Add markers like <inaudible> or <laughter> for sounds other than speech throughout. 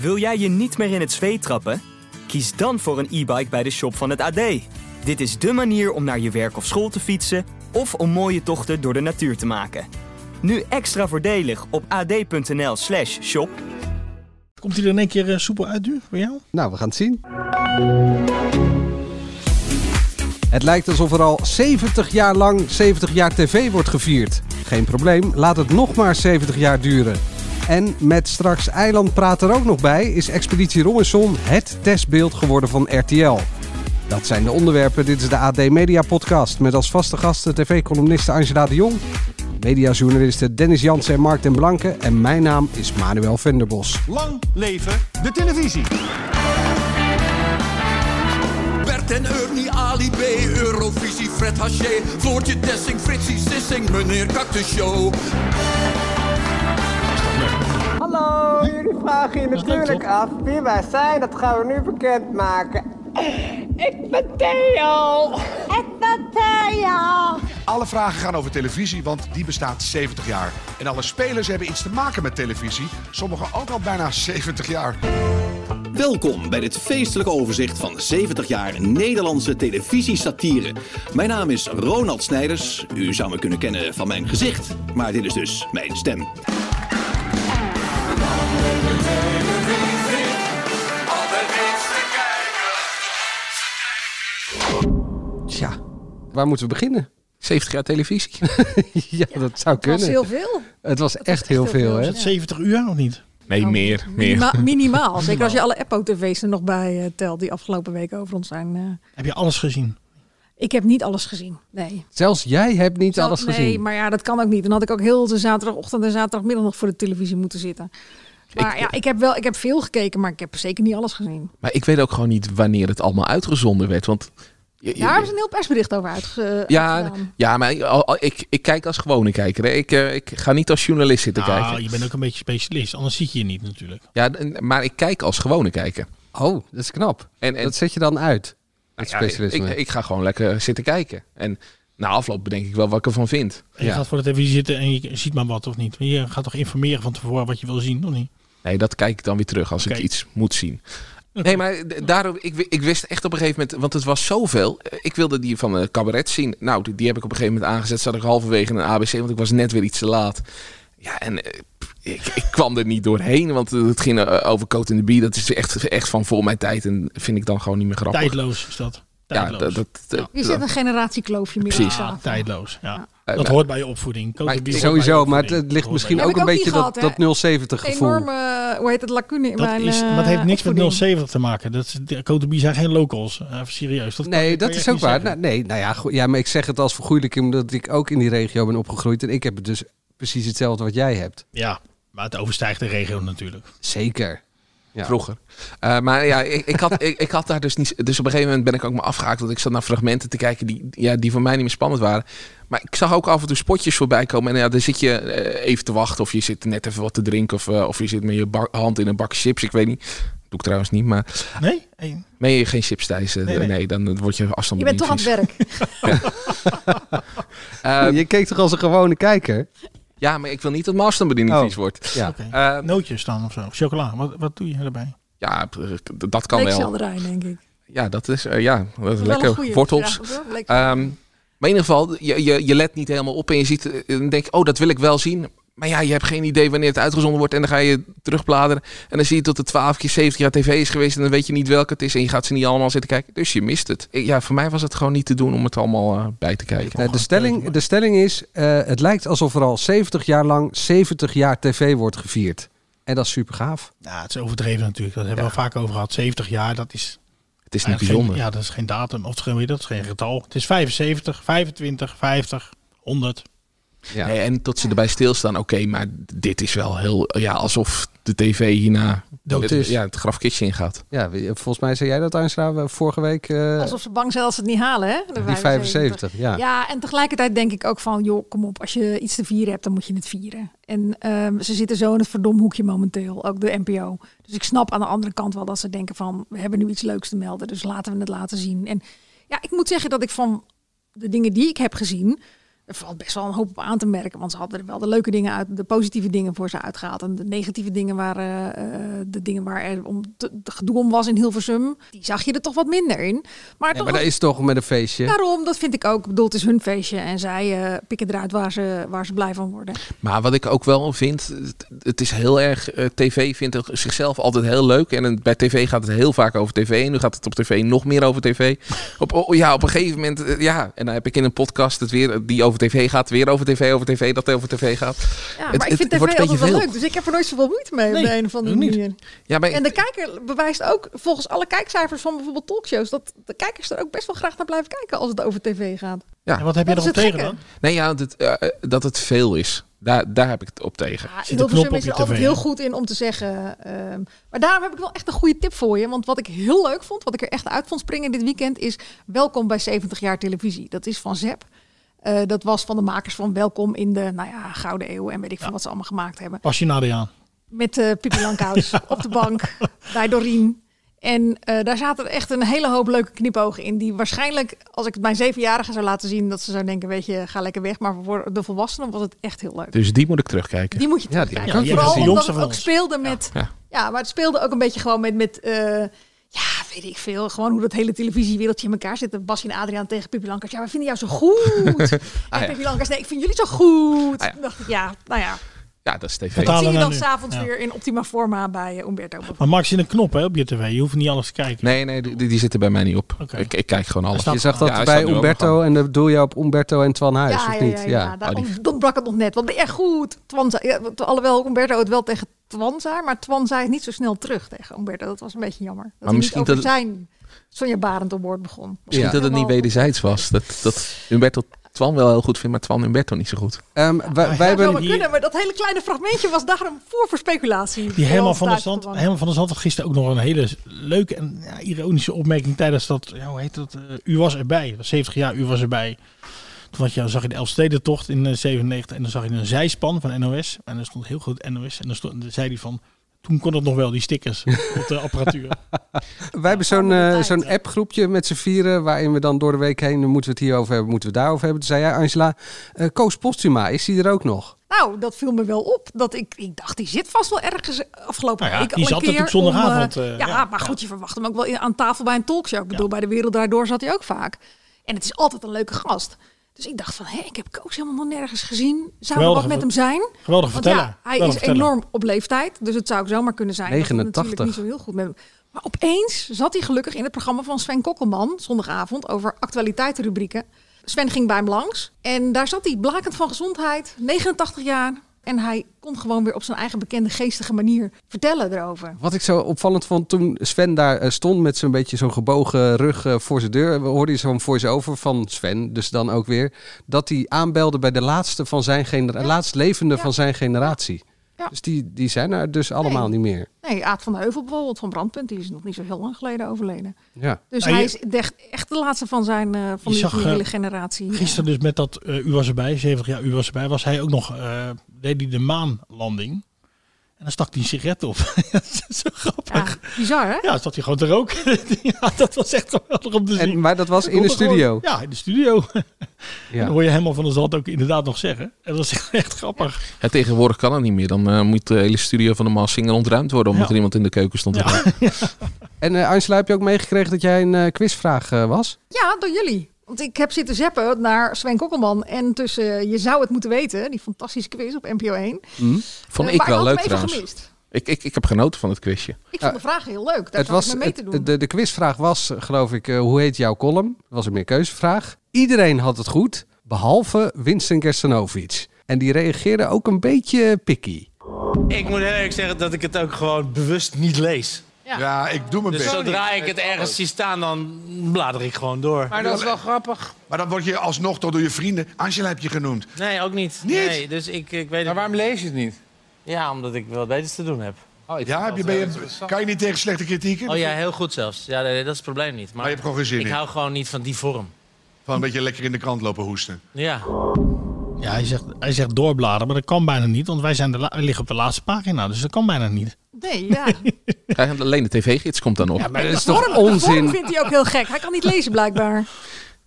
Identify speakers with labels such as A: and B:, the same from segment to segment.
A: Wil jij je niet meer in het zweet trappen? Kies dan voor een e-bike bij de shop van het AD. Dit is dé manier om naar je werk of school te fietsen of om mooie tochten door de natuur te maken. Nu extra voordelig op ad.nl/slash shop.
B: Komt hij er in één keer eh, soepel uit nu voor jou?
C: Nou, we gaan het zien. Het lijkt alsof er al 70 jaar lang 70 jaar tv wordt gevierd. Geen probleem, laat het nog maar 70 jaar duren. En met straks Eiland Praat er ook nog bij, is Expeditie Robinson het testbeeld geworden van RTL. Dat zijn de onderwerpen. Dit is de AD Media Podcast met als vaste gasten tv-columniste Angela de Jong, mediajournalisten Dennis Jansen en Mark den Blanke en mijn naam is Manuel Venderbos.
D: Lang leven de televisie.
E: Bert en Ernie, Ali B, Eurovisie, Fred Haché, Floortje Dessing, Fritsie Sissing, meneer Cactus Show.
F: Hallo, jullie vragen je
B: is leuk,
F: natuurlijk
B: toch?
F: af wie wij zijn. Dat gaan we nu bekendmaken. Ik ben Theo. Ik ben Theo.
D: Alle vragen gaan over televisie, want die bestaat 70 jaar. En alle spelers hebben iets te maken met televisie. Sommigen ook al bijna 70 jaar.
G: Welkom bij dit feestelijke overzicht van 70 jaar Nederlandse televisiesatire. Mijn naam is Ronald Snijders. U zou me kunnen kennen van mijn gezicht, maar dit is dus mijn stem.
C: Tja, waar moeten we beginnen?
H: 70 jaar televisie.
C: <laughs> ja, dat zou kunnen.
I: Dat is heel veel.
C: Het was echt heel veel, hè?
B: Is dat 70 uur of niet?
H: Nee, meer. meer.
I: Minima- minimaal. Zeker als je alle Eppo-tv's er nog bij eh, telt die afgelopen weken over ons zijn. eh.
B: Heb je alles gezien?
I: ik heb niet alles gezien. Nee.
C: Zelfs jij hebt niet alles
I: nee,
C: gezien.
I: maar ja, dat kan ook niet. Dan had ik ook heel de zaterdagochtend en zaterdagmiddag nog voor de televisie moeten zitten. Maar ja, ik heb wel ik heb veel gekeken, maar ik heb zeker niet alles gezien.
H: Maar ik weet ook gewoon niet wanneer het allemaal uitgezonden werd. Want je- je-
I: Daar hebben ze een heel persbericht over uitge
H: ja,
I: uitgedaan.
H: ja, maar ik, al- al- ik, ik kijk als gewone kijker. Hè. Ik, eh, ik ga niet als journalist zitten
B: Nou,
H: kijken.
B: je bent ook een beetje specialist, anders zie je je niet natuurlijk.
H: Ja, n- maar ik kijk als gewone kijker.
C: Oh, dat is knap.
H: En, en
C: Dat zet je dan uit. Het
H: ja,
C: specialisme.
H: ik, ik ga gewoon lekker zitten kijken. En na afloop bedenk ik wel wat ik ervan vind.
B: En Je
C: Ja.
B: gaat voor de televisie zitten en je ziet maar wat of niet. Je gaat toch informeren van tevoren wat je wil zien, of niet?
H: Nee, dat kijk ik dan weer terug als
B: Oké.
H: ik iets moet
B: <laughs>
H: zien. Nee, maar d- daarom, ik, wi- ik wist echt op een gegeven moment, want het was zoveel. Eh, Ik wilde die van eh cabaret zien. Nou, die, die heb ik op een gegeven moment aangezet. Zat ik halverwege in een ABC, want ik was net weer iets te laat. Ja, en eh, pff, ik, ik kwam er niet doorheen, want eh, het ging eh, over Coat in de Bee. Dat is echt, echt van voor mijn tijd en vind ik dan gewoon niet meer grappig.
B: Tijdloos is dat.
H: Ja,
B: Tijdloos.
H: dat, dat, dat- eh,
I: Je zit een generatiekloofje meer
H: Precies.
I: aan
B: Ja,
I: tafel.
B: tijdloos. Ja.
H: Eh,
B: Dat
H: maar-
B: hoort bij je opvoeding. Koken
H: Maar
B: bier hoort
H: ik-
B: bij je
C: Sowieso, maar het,
B: opvoeding.
C: het ligt
B: Hoort
C: misschien
B: bij
I: Heb
C: ook
I: ik
C: een
I: ook
C: beetje
I: niet
C: dat,
I: gehad, hè?
C: dat 070 gevoel.
I: Enorme, eh, hoe heet het, lacune in
B: je
I: mijn
B: opvoeding. dat, is, dat
I: eh,
B: heeft niks met
I: opvoeding.
B: 070 te maken. Dat is, de Cote Bier zijn geen locals. Eh, Even serieus. Dat kan-
C: Nee,
B: kan
C: dat
B: je
C: is
B: echt
C: ook
B: niet
C: waar.
B: zeggen.
C: Nou, nee, nou ja, goed, ja, maar ik zeg het als vergoeilijking omdat ik ook in die regio ben opgegroeid. En ik heb dus precies hetzelfde wat jij hebt.
B: Ja, maar het overstijgt de regio natuurlijk.
C: Zeker. Ja.
H: Vroeger. Eh, maar ja, ik, ik, had, ik, ik had daar dus niet. Dus op een gegeven moment ben ik ook maar afgehaakt. Want ik zat naar fragmenten te kijken die, ja, die voor mij niet meer spannend waren. Maar ik zag ook af en toe spotjes voorbij komen. En ja, dan zit je eh, even te wachten. Of je zit net even wat te drinken. Of, eh, of je zit met je bak- hand in een bak chips. Ik weet niet. doe ik trouwens niet. Maar
B: Nee? Hey,
H: meen je geen chips thuis? eh,
B: Nee,
H: nee,
B: nee.
H: dan word je afstand.
I: Je bent toch aan het werk.
H: Eh,
C: je keek toch als een gewone kijker?
H: ja, maar ik wil niet dat mijn afstandsbediening
C: Oh.
H: vies wordt.
C: Ja.
B: oké.
H: Eh,
B: Nootjes dan of zo. Chocola. Wat, wat doe je erbij?
H: ja, p- d- dat kan wel.
I: Leekselderij, denk ik.
H: Ja, dat is eh, ja, dat is
I: Wel een
H: lekker.
I: goeie.
H: Wortels.
I: Ja, wel lekker.
H: Ehm, maar in ieder geval, je, je, je let niet helemaal op en je ziet, eh, dan denk je, oh, dat wil ik wel zien. Maar ja, je hebt geen idee wanneer het uitgezonden wordt. En dan ga je terugbladeren. En dan zie je dat het 12 keer 70 jaar tv is geweest. En dan weet je niet welke het is. En je gaat ze niet allemaal zitten kijken. Dus je mist het. Ik- Ja, voor mij was het gewoon niet te doen om het allemaal eh, bij te kijken.
C: Nou, de, stelling, de stelling is, eh, het lijkt alsof er al 70 jaar lang 70 jaar tv wordt gevierd. En dat is super gaaf.
B: Nou, het is overdreven natuurlijk. Dat hebben we al vaak over gehad. 70 jaar, dat is
H: Het is niet
B: Eigenlijk
H: bijzonder.
B: Geen, ja, dat is geen datum. Of geen, dat is geen getal. Het is 75, 25, 50, 100.
C: Ja.
H: Nee, en tot ze erbij stilstaan, oké, maar dit is wel heel... Ja, alsof de tv hierna
C: Dood
H: het,
C: is.
H: Ja, het grafkistje ingaat.
C: Ja, we- volgens mij zei jij dat, Angela, we- vorige week. eh,
I: Alsof ze bang zijn als ze het niet halen, hè? De
C: die 75, ja.
I: Ja. en tegelijkertijd denk ik ook van, joh, kom op, als je iets te vieren hebt, dan moet je het vieren. En ehm, ze zitten zo in het verdom hoekje momenteel, ook de NPO. Dus ik snap aan de andere kant wel dat ze denken van, we hebben nu iets leuks te melden, dus laten we het laten zien. En ja, ik moet zeggen dat ik van de dingen die ik heb gezien, er valt best wel een hoop op aan te merken. Want ze hadden er wel de leuke dingen uit, de positieve dingen voor ze uitgehaald. En de negatieve dingen waren eh, de dingen waar er om te, te gedoe om was in Hilversum. Die zag je er toch wat minder in. Maar,
C: Nee,
I: toch
C: maar dat is toch met een feestje.
I: daarom, dat vind ik ook. Ik bedoel, het is hun feestje. En zij eh, pikken eruit waar ze, waar ze blij van worden.
H: Maar wat ik ook wel vind, het, het is heel erg, eh, tv vindt het zichzelf altijd heel leuk. En het- bij tv gaat het heel vaak over tv. En nu gaat het op tv nog meer over tv. Op, oh, ja, op een gegeven moment, eh, ja. En dan heb ik in een podcast het weer, die over tv gaat, weer over tv, over tv, dat over tv gaat.
I: Ja, maar
H: Het-
I: ik
H: het
I: vind
H: wordt een
I: tv altijd
H: beetje
I: wel
H: veel.
I: leuk. Dus ik heb er nooit zoveel moeite mee op
B: Nee,
I: de een of andere
B: ook niet.
I: manier.
H: Ja, maar
I: En de kijker bewijst ook, volgens alle kijkcijfers van bijvoorbeeld talkshows, dat de kijkers er ook best wel graag naar blijven kijken als het over tv gaat.
B: En wat heb je erop
I: Dat is het
B: tegen
I: gekke.
B: dan?
H: nee, ja, dat, eh, eh, dat het veel is. Daar, daar heb ik het op tegen.
I: Ja,
B: Zit de knop
I: Hilversum
B: op
I: is
B: je
I: er altijd
B: tv,
I: heel
B: hè?
I: goed in om te zeggen. ehm, maar daarom heb ik wel echt een goede tip voor je. Want wat ik heel leuk vond, wat ik er echt uit vond springen dit weekend, is Welkom bij 70 jaar televisie. Dat is van Zep. Eh, dat was van de makers van Welkom in de nou ja, Gouden Eeuw en weet ik veel wat ze allemaal gemaakt hebben.
B: Pas je naar die aan.
I: met eh Pippi Lankhuis op de bank bij Dorien. En eh, daar zaten echt een hele hoop leuke knipogen in. Die waarschijnlijk, als ik het mijn zevenjarige zou laten zien, dat ze zou denken, weet je, ga lekker weg. Maar voor de volwassenen was het echt heel leuk.
H: Dus die moet ik terugkijken.
I: Die moet je
H: Ja, die-
I: terugkijken.
B: ja, die
I: Vooral
B: hebben ze de
I: omdat
B: jongste
I: het
B: van
I: ook
B: ons.
I: speelde met...
H: Ja.
I: Ja. maar het speelde ook een beetje gewoon met... met eh, ja, weet ik veel. Gewoon hoe dat hele televisiewereldje in elkaar zit. Bas en Adriaan tegen Pippi Lankhuis. Ja, we vinden jou
H: <laughs>
I: zo goed.
H: Ah,
I: en
H: ja.
I: Pippi Lankhuis, nee, ik vind jullie zo
H: Ah,
I: goed.
H: ja.
I: Toen dacht ik, ja, nou ja.
H: Ja, dat is tv.
B: Vertaal- Betalen
I: Zie je
B: nou
I: dan
B: nu.
I: s'avonds
B: Ja.
I: weer in optima forma bij eh, Umberto.
H: Ah,
I: bijvoorbeeld.
B: Maar Max zit een knop hè, op je tv. Je hoeft niet alles te kijken.
H: Nee, nee, die, die zitten bij mij niet op.
B: Oké.
H: Ik, ik kijk gewoon alles.
B: Hij
C: Je zag dat
H: Ja, hij staat
C: bij
H: nu ook nog
C: Umberto
H: aan.
C: en dan doe je op Umberto en Twan Huis,
I: ja,
C: of
I: ja,
C: niet?
I: ja, ja, Daarom, dan brak het nog net. Want ben je echt goed. Twan zei, ja, want alhoewel Umberto het wel tegen Twan zei, maar Twan zei het niet zo snel terug tegen Umberto. Dat was een beetje jammer. Dat hij
H: misschien
I: niet over
H: dat-
I: zijn Sonja Barend op woord begon.
H: Misschien
C: Ja.
H: dat het niet
I: Helemaal-
H: wederzijds was. Dat, dat Humberto Twan wel heel goed vindt, maar Twan Humberto niet zo goed.
C: Ehm, wij- wij
B: ja,
I: Dat
C: hebben
I: zou maar
B: Die-
I: kunnen, maar dat hele kleine fragmentje was daarom voor voor speculatie.
B: Die helemaal van, de
I: Ons
B: zand,
I: thuis
B: helemaal van de zand had gisteren ook nog een hele leuke en ja, ironische opmerking tijdens dat, ja, hoe heet dat? eh, u was erbij. Dat was 70 jaar, u was erbij. Toen had je, zag je de Elfstedentocht in eh, 97 en dan zag je een zijspan van NOS. En er stond heel groot NOS. En dan, stond, dan zei hij van, toen kon het nog wel, die stickers op de apparatuur.
C: Wij hebben zo'n
I: Andere
C: eh
I: tijd,
C: zo'n
I: ja.
C: appgroepje met z'n vieren, waarin we dan door de week heen, dan moeten we het hierover hebben, moeten we het daarover hebben. Toen zei jij, Angela, eh, Koos Postuma, is die er ook nog?
I: Nou, dat viel me wel op. Dat ik, ik dacht, die zit vast wel ergens eh, afgelopen
B: Nou ja,
I: week
B: die
I: al een
B: zat
I: keer.
B: natuurlijk
I: om, eh,
B: zondagavond, eh,
I: ja,
B: ja.
I: maar goed, je verwacht hem ook wel in- aan tafel bij een talkshow. Ik bedoel, bij de wereld daardoor zat hij ook vaak. En het is altijd een leuke gast. Dus ik dacht van, hé, ik heb Koos helemaal nog nergens gezien. Zou er
B: Geweldige
I: wat met
B: ver-
I: hem zijn?
B: Geweldig
I: Want
B: vertellen.
I: ja, hij is enorm op leeftijd. Dus het zou ook zomaar kunnen zijn. Dat het
C: 89.
I: natuurlijk niet zo heel goed met hem. Maar opeens zat hij gelukkig in het programma van Sven Kokkelman. Zondagavond over actualiteitenrubrieken. Sven ging bij hem langs. En daar zat hij blakend van gezondheid. 89 jaar. En hij kon gewoon weer op zijn eigen bekende geestige manier vertellen erover.
C: Wat ik zo opvallend vond toen Sven daar eh, stond met zo'n beetje zo'n gebogen rug eh, voor zijn deur. We hoorden zo'n voice-over van Sven, dus dan ook weer. Dat hij aanbelde bij de laatste van zijn generatie, laatst levende
I: Ja.
C: van zijn generatie.
I: Ja.
C: Dus die, die zijn er dus allemaal
I: Nee.
C: niet meer.
I: Nee, Aad van de Heuvel bijvoorbeeld van Brandpunt. Die is nog niet zo heel lang geleden overleden.
C: Ja.
I: Dus
B: Nou,
I: hij
B: je-
I: is echt, echt de laatste van zijn eh, van
B: Je
I: die,
B: zag,
I: van die hele
B: eh,
I: generatie.
B: Gisteren dus met dat eh, U was erbij, 70 jaar U was erbij, was hij ook nog, eh, deed hij de maanlanding. En dan stak hij een sigaret op. <laughs> dat is zo
I: Ja,
B: grappig.
I: bizar hè?
B: Ja, zat hij gewoon te roken. <laughs> ja, dat was echt geweldig om te zien.
C: En, maar dat was
B: Dat
C: in de
B: kon er
C: studio.
B: gewoon- ja, in de studio. <laughs>
C: Ja.
B: Dat hoor je helemaal van de zand ook inderdaad nog zeggen. En dat is echt, echt grappig.
H: Ja, tegenwoordig kan het niet meer. Dan eh, moet de hele studio van de Massinger ontruimd worden... omdat
B: Ja.
H: er iemand in de keuken stond. te
B: Ja.
H: roken.
C: En eh Angela, heb je ook meegekregen dat jij een eh, quizvraag eh, was?
I: Ja, door jullie. Want ik heb zitten zeppen naar Sven Kokkelman en tussen eh, Je zou het moeten weten, die fantastische quiz op NPO 1.
H: Vond
I: Eh,
H: ik
I: maar
H: wel
I: had
H: leuk
I: hem even
H: trouwens.
I: gemist.
H: Ik, ik, ik heb genoten van het quizje.
I: Ik
C: Ja,
I: vond de vragen heel leuk, daar
C: Het
I: zat was,
C: was,
I: ik mee te
C: het-
I: doen.
C: de, de quizvraag was, eh, geloof ik, eh, hoe heet jouw column? Dat was een meerkeuzevraag. Iedereen had het goed, behalve Winston Gerstanovic. En die reageerde ook een beetje picky.
J: Ik moet heel eerlijk zeggen dat ik het ook gewoon bewust niet lees.
I: Ja.
D: Ja, ik doe mijn
J: Dus
D: best.
J: zodra ik het ergens zie staan, dan blader ik gewoon door.
K: Maar dat is wel grappig.
D: Maar dan word je alsnog toch door je vrienden. Angela heb je genoemd.
J: Nee, ook niet.
D: Niet?
J: Nee, dus ik, ik weet
K: Maar
J: het
K: waarom lees je het niet? Oh,
J: Ja, omdat ik wat beters te doen heb.
D: Ja, heb je,
K: eh,
D: ben je, kan je niet tegen slechte kritieken?
J: Oh ja, heel goed zelfs. Ja, nee, nee, Eh, dat is het probleem niet.
D: Maar je hebt gewoon geen zin
J: ik
D: in.
J: hou gewoon niet van die vorm.
D: Van een beetje lekker in de krant lopen hoesten.
J: Ja.
B: Ja, hij zegt, hij zegt doorbladeren, maar dat kan bijna niet. Want wij, zijn de la- wij liggen op de laatste pagina, dus dat kan bijna niet.
I: Nee, ja. De
H: Krijgen- Alleen de tv-gids komt dan op.
C: Maar dat is <laughs>
I: vorm-
C: toch
I: de vorm
C: onzin?
I: vindt hij ook heel gek. Hij kan niet lezen blijkbaar.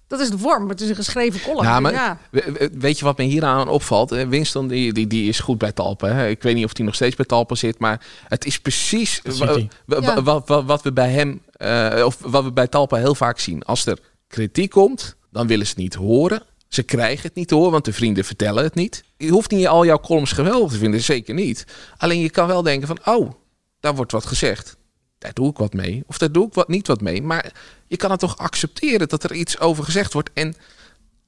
I: Dat is de vorm. Het is een geschreven column.
H: Nou, maar
I: dus ja.
H: we- we- weet je wat me hieraan opvalt? Eh, Winston die, die, die is goed bij Talpen. hè. Ik weet niet of hij nog steeds bij Talpen zit, maar het is precies
B: Dat
H: wa-
B: zit
H: wa-
I: Ja.
H: wa- wa- wa- wat we bij hem eh, of wat we bij Talpen heel vaak zien. Als er kritiek komt, dan willen ze het niet horen. Ze krijgen het niet te horen, want de vrienden vertellen het niet. Je hoeft niet al jouw columns geweldig te vinden, zeker niet. Alleen je kan wel denken van, oh, daar wordt wat gezegd. Daar doe ik wat mee. Of daar doe ik wat, niet wat mee. Maar je kan het toch accepteren dat er iets over gezegd wordt. En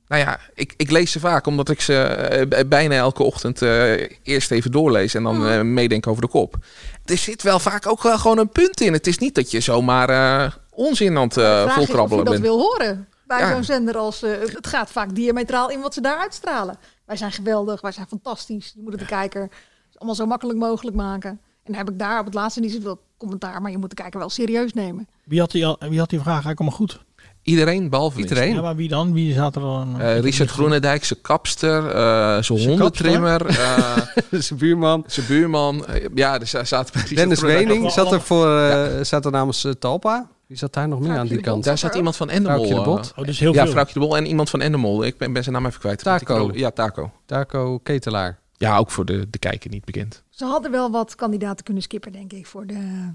H: nou ja, ik, ik lees ze vaak omdat ik ze eh, b- bijna elke ochtend eh, eerst even doorlees en dan eh, meedenk over de kop. Er zit wel vaak ook wel gewoon een punt in. Het is niet dat je zomaar eh, onzin aan het eh,
I: Vraag is of je
H: volkrabbelen
I: dat
H: bent.
I: wil horen. Bij
H: Ja.
I: zo'n zender als... eh, het gaat vaak diametraal in wat ze daar uitstralen. Wij zijn geweldig, wij zijn fantastisch. Je moet het de kijker allemaal zo makkelijk mogelijk maken. En dan heb ik daar op het laatste niet zoveel commentaar. Maar je moet de kijker wel serieus nemen.
B: Wie had die, al- wie had die vraag eigenlijk allemaal goed?
H: Iedereen behalve Winston.
B: Ja, maar wie dan? Wie zat er dan?
H: Eh, Richard Groenendijk, zijn kapster, eh zijn hondentrimmer, eh,
C: <laughs> Zijn buurman.
H: zijn buurman. Eh, ja, er za- zaten bij Richard
C: Dennis
H: Groenendijk
C: Wening
H: ook
C: zat er, voor, eh, zat er namens eh, Talpa. Wie zat daar nog meer aan die
H: wel-
C: kant?
H: Daar zat iemand van Endemol.
C: Vrouwtje de
H: eh,
C: Bot.
B: Oh, dus heel
H: ja,
B: veel.
H: Vrouwtje de Bol en iemand van Endemol. Ik ben, ben zijn naam even kwijt.
C: Taco.
H: Ja, Taco.
C: Darko Ketelaar.
H: Ja, ook voor de, de kijker niet bekend.
I: Ze hadden wel wat kandidaten kunnen skippen, denk ik. Voor de,
H: Nou,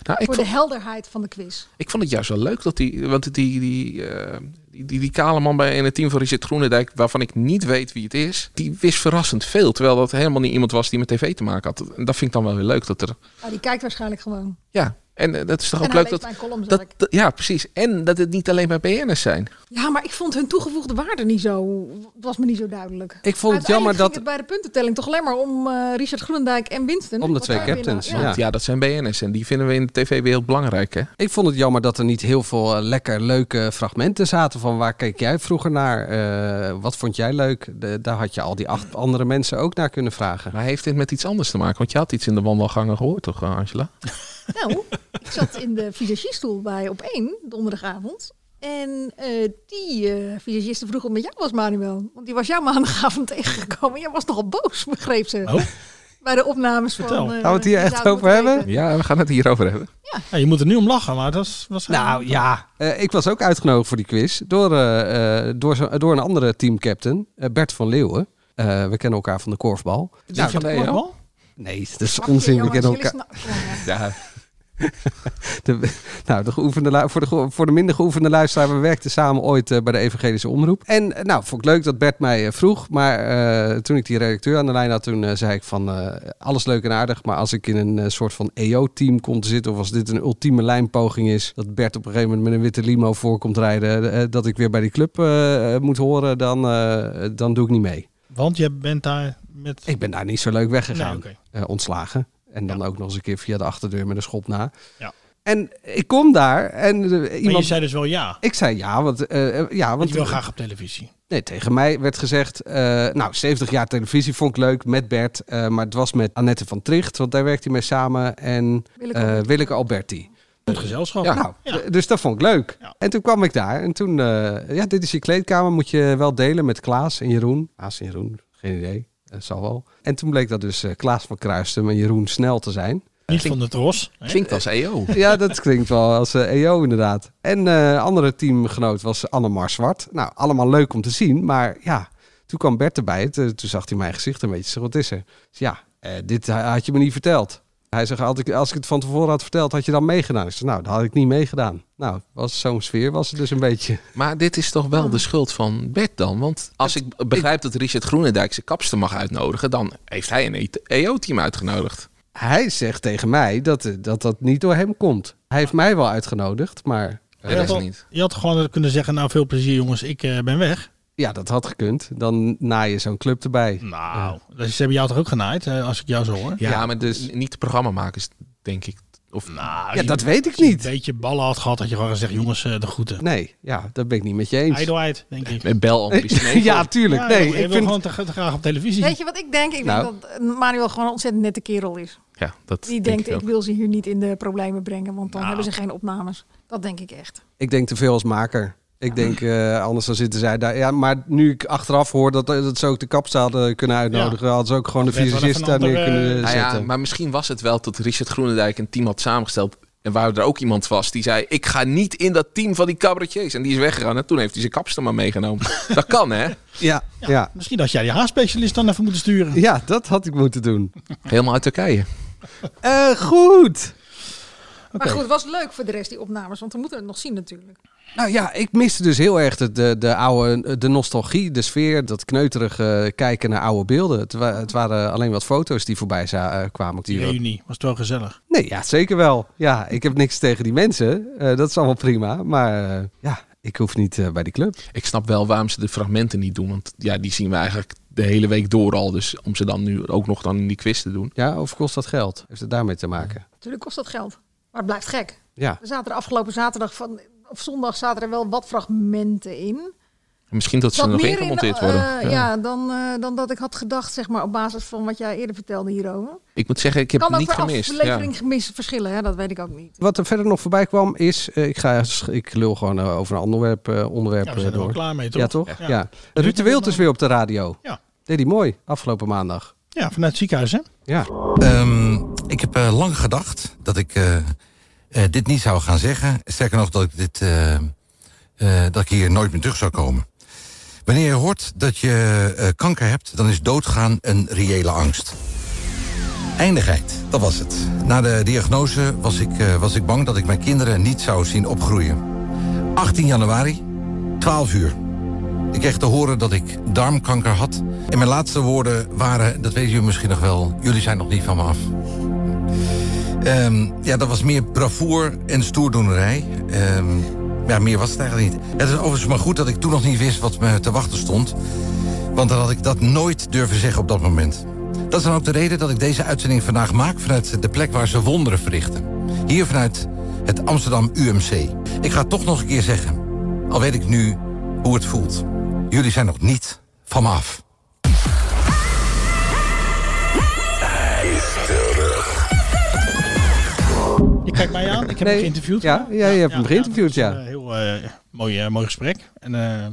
H: ik,
I: voor de
H: vond,
I: helderheid van de quiz.
H: ik vond het juist wel leuk dat die... Want die, die, eh, die, die, die kale man bij, in het team van Richard Groenendijk... waarvan ik niet weet wie het is... die wist verrassend veel. Terwijl dat helemaal niet iemand was die met tv te maken had. En dat vind ik dan wel weer leuk dat er...
I: Nou, die kijkt waarschijnlijk gewoon.
H: Ja, en eh, dat is toch
I: En
H: ook
I: hij
H: leuk
I: leest
H: dat...
I: mijn columns
H: dat,
I: elk.
H: dat- ja, precies. En dat het niet alleen maar BN'ers zijn.
I: Ja, maar ik vond hun toegevoegde waarde niet zo... was me niet zo duidelijk.
C: Ik vond het
I: Uiteindelijk
C: jammer
I: ging
C: dat...
I: het bij de puntentelling toch alleen maar om eh, Richard Groenendijk en Winston.
C: Om de
I: Wat
C: twee
I: daar weer
C: captains,
I: naar-
C: ja.
H: Ja. ja, dat zijn BN'ers. En die vinden we in de tv-wereld belangrijk, hè?
C: Ik vond het jammer dat er niet heel veel eh, lekker leuke fragmenten zaten. Van waar keek jij vroeger naar? Eh, wat vond jij leuk? De- daar had je al die acht andere mensen ook naar kunnen vragen.
H: Maar heeft dit met iets anders te maken? Want je had iets in de wandelgangen gehoord, toch, eh, Angela?
I: Nou, ik zat in de visagiestoel bij op één donderdagavond. En eh, die eh visagiste vroeg om met jou was, Manuel. Want die was jou maandagavond <laughs> tegengekomen. Jij was nogal boos, begreep ze.
B: Oh.
I: Bij de opnames van...
B: Vertel.
I: eh,
C: Gaan we het hier
I: Die
C: echt
I: Zout
C: over
I: Moet
C: hebben?
I: Weten.
H: Ja, we gaan het hierover hebben.
B: Ja, je moet er nu om lachen, maar dat is, was
C: Nou ja, eh, ik was ook uitgenodigd voor die quiz door, eh, eh, door, zo- door een andere teamcaptain, eh, Bert van Leeuwen. Eh, we kennen elkaar van de korfbal.
H: Ja, van de EO.
B: wel.
C: Nee, dat is
I: Mag je,
C: onzin. We
I: jongens,
C: kennen
I: jullie
C: elkaar.
I: snappen- Ja.
H: Ja,
C: De, nou, de geoefende, lu- voor, de, ge- voor de minder geoefende luisteraar, we werkten samen ooit eh, bij de Evangelische Omroep. En eh, nou, vond ik leuk dat Bert mij eh, vroeg. Maar eh, toen ik die redacteur aan de lijn had, toen eh, zei ik van eh, alles leuk en aardig. Maar als ik in een eh, soort van EO-team kom te zitten, of als dit een ultieme lijnpoging is, dat Bert op een gegeven moment met een witte limo voor komt rijden, eh, dat ik weer bij die club eh, eh, moet horen, dan, eh, dan doe ik niet mee.
B: Want je bent daar met...
C: Ik ben daar niet zo leuk weggegaan
B: Nee, oké.
C: eh, ontslagen. En dan ook nog eens een keer via de achterdeur met een schop na.
B: Ja.
C: En ik kom daar en eh,
B: Maar je
C: iemand...
B: zei dus wel ja.
C: Ik zei ja, want... eh, eh, ja,
B: Want
C: want
B: je wil graag op televisie.
C: nee, tegen mij werd gezegd... eh, nou, 70 jaar televisie vond ik leuk met Bert. eh, maar het was met Annette van Tricht, want daar werkte hij mee samen. En
I: Willeke
C: eh
I: Alberti.
C: Willeke Alberti.
B: Goed gezelschap.
H: Ja.
C: Nou,
B: Ja.
C: d- dus dat vond ik leuk.
B: Ja.
C: En toen kwam ik daar en toen... eh, ja, dit is je kleedkamer, moet je wel delen met Klaas en Jeroen. Klaas en Jeroen, geen idee. Dat zal wel. En toen bleek dat dus eh, Klaas van Kruisten en Jeroen Snel te zijn.
B: Niet van de tros. hè?
H: klinkt als E EO.
C: <laughs> Ja, dat klinkt wel als eh, EO inderdaad. En eh andere teamgenoot was Annemar Zwart. Nou, allemaal leuk om te zien, maar ja, toen kwam Bert erbij. T- toen zag hij mijn gezicht een beetje. Ik zeg, Wat is er? Ik zeg, ja, eh, dit ha- had je me niet verteld. Hij zegt, had ik, als ik het van tevoren had verteld, had je dan meegedaan? Ik zeg, nou, dat had ik niet meegedaan. Nou, was zo'n sfeer was het dus een beetje. <laughs>
H: Maar dit is toch wel de schuld van Bert dan? Want als ik begrijp dat Richard Groenendijk zijn kapster mag uitnodigen... dan heeft hij een E EO-team uitgenodigd.
C: Hij zegt tegen mij dat eh, dat, dat niet door hem komt. Hij heeft mij wel uitgenodigd, maar
H: Ja, dat is
B: had-
H: niet.
B: je had gewoon kunnen zeggen, nou veel plezier jongens, ik eh, ben weg.
C: ja, dat had gekund. Dan naai je zo'n club erbij.
B: Nou, dus ze hebben jou toch ook genaaid, eh, als ik jou zo hoor?
H: Ja, maar dus niet de programmamakers, denk ik. Of,
B: Nou,
C: Ja,
B: je-
C: dat weet ik
B: als je
C: niet.
B: Een beetje ballen had gehad, dat je gewoon gezegd, jongens, eh, de groeten.
C: Nee, ja, dat ben ik niet met je eens.
B: Ijdelheid, denk ik.
H: Bel
C: <laughs>
H: en
C: ja, tuurlijk.
B: Ja,
C: nee,
B: joh, je
C: ik
B: wil
C: vind...
B: gewoon te, te graag op televisie.
I: Weet je wat ik denk? Ik
C: Nou.
I: denk dat eh, Manuel gewoon een ontzettend nette kerel is.
H: Ja, dat
I: Die
H: denk
I: denkt, ik,
H: ook.
I: wil ze hier niet in de problemen brengen, want dan hebben ze geen opnames. Dat denk ik echt.
C: Ik denk te veel als maker. Ik denk, eh, anders dan zitten zij daar. Ja, maar nu ik achteraf hoor dat, eh, dat ze ook de kapster hadden kunnen uitnodigen, hadden ze ook gewoon de
B: werd wel
C: visagist
B: even
C: daar
B: een
C: neer
B: andere-
C: kunnen
H: Nou
C: zetten.
H: ja, maar misschien was het wel dat Richard Groenendijk een team had samengesteld En waar er ook iemand was die zei: Ik ga niet in dat team van die cabaretiers. En die is weggegaan. En toen heeft hij zijn kapster maar <laughs> meegenomen. dat kan, hè?
C: Ja, ja.
B: Misschien had jij die haarspecialist dan even moeten sturen.
C: Ja, dat had ik moeten doen.
H: Helemaal uit Turkije.
C: Eh, goed.
I: Maar goed, het was leuk voor de rest, die opnames. Want we moeten het nog zien natuurlijk.
C: Nou ja, ik miste dus heel erg de, de, de oude de nostalgie, de sfeer, dat kneuterige kijken naar oude beelden. Het, wa- het waren alleen wat foto's die voorbij za- eh, kwamen. op
B: Die
C: die
B: reunie. Was het wel gezellig.
C: Nee, ja, zeker wel. Ja, ik heb niks tegen die mensen. Eh, dat is allemaal prima. Maar eh, ja, ik hoef niet eh, bij die club.
H: Ik snap wel waarom ze de fragmenten niet doen. Want ja, die zien we eigenlijk de hele week door al. Dus om ze dan nu ook nog dan in die quiz te doen.
C: Ja, of kost dat geld? Heeft het daarmee te maken?
I: Natuurlijk kost dat geld. Maar het blijft gek.
C: Ja.
I: Er zaten er afgelopen zaterdag van, of zondag zaten er wel wat fragmenten in.
H: Misschien dat ze
I: Wat
H: er nog
I: meer
H: in
I: in,
H: gemonteerd
I: eh,
H: worden.
I: ja, dan, eh, dan dat ik had gedacht, zeg maar, op basis van wat jij eerder vertelde hierover.
H: Ik moet zeggen, ik heb
I: kan
H: het
I: ook
H: niet
I: per
H: gemist.
I: aflevering gemist verschillen, hè? dat weet ik ook niet.
C: Wat er verder nog voorbij kwam is, eh, ik, ga, ik lul gewoon eh, over een ander onderwerp, eh, onderwerp
B: Ja, we zijn
C: eh,
B: er wel
C: door.
B: klaar mee, toch?
C: Ja, toch?
B: Ja.
C: Ja. Ruud de Wild is weer op de radio.
B: Ja.
C: Deed hij mooi, afgelopen maandag.
B: Ja, vanuit het ziekenhuis, hè?
C: Ja.
L: Ehm, ik heb eh, lang gedacht dat ik eh, eh, dit niet zou gaan zeggen. Sterker nog, dat ik, dit, eh, eh, dat ik hier nooit meer terug zou komen. Wanneer je hoort dat je eh, kanker hebt, dan is doodgaan een reële angst. Eindigheid, dat was het. Na de diagnose was ik, eh, was ik bang dat ik mijn kinderen niet zou zien opgroeien. 18 januari, 12 uur. Ik kreeg te horen dat ik darmkanker had. En mijn laatste woorden waren, dat weten jullie misschien nog wel... jullie zijn nog niet van me af. Ehm, ja, dat was meer bravoer en stoerdoenerij. Ehm, ja, meer was het eigenlijk niet. Het is overigens maar goed dat ik toen nog niet wist wat me te wachten stond. Want dan had ik dat nooit durven zeggen op dat moment. Dat is dan ook de reden dat ik deze uitzending vandaag maak... vanuit de plek waar ze wonderen verrichten. Hier vanuit het Amsterdam UMC. Ik ga het toch nog een keer zeggen. Al weet ik nu hoe het voelt. Jullie zijn nog niet van me af.
B: Je kijkt mij aan. Ik heb hem geïnterviewd.
C: Ja, ja, je hebt hem geïnterviewd, ja.
B: Eh, heel eh, mooi, eh, mooi gesprek. En eh,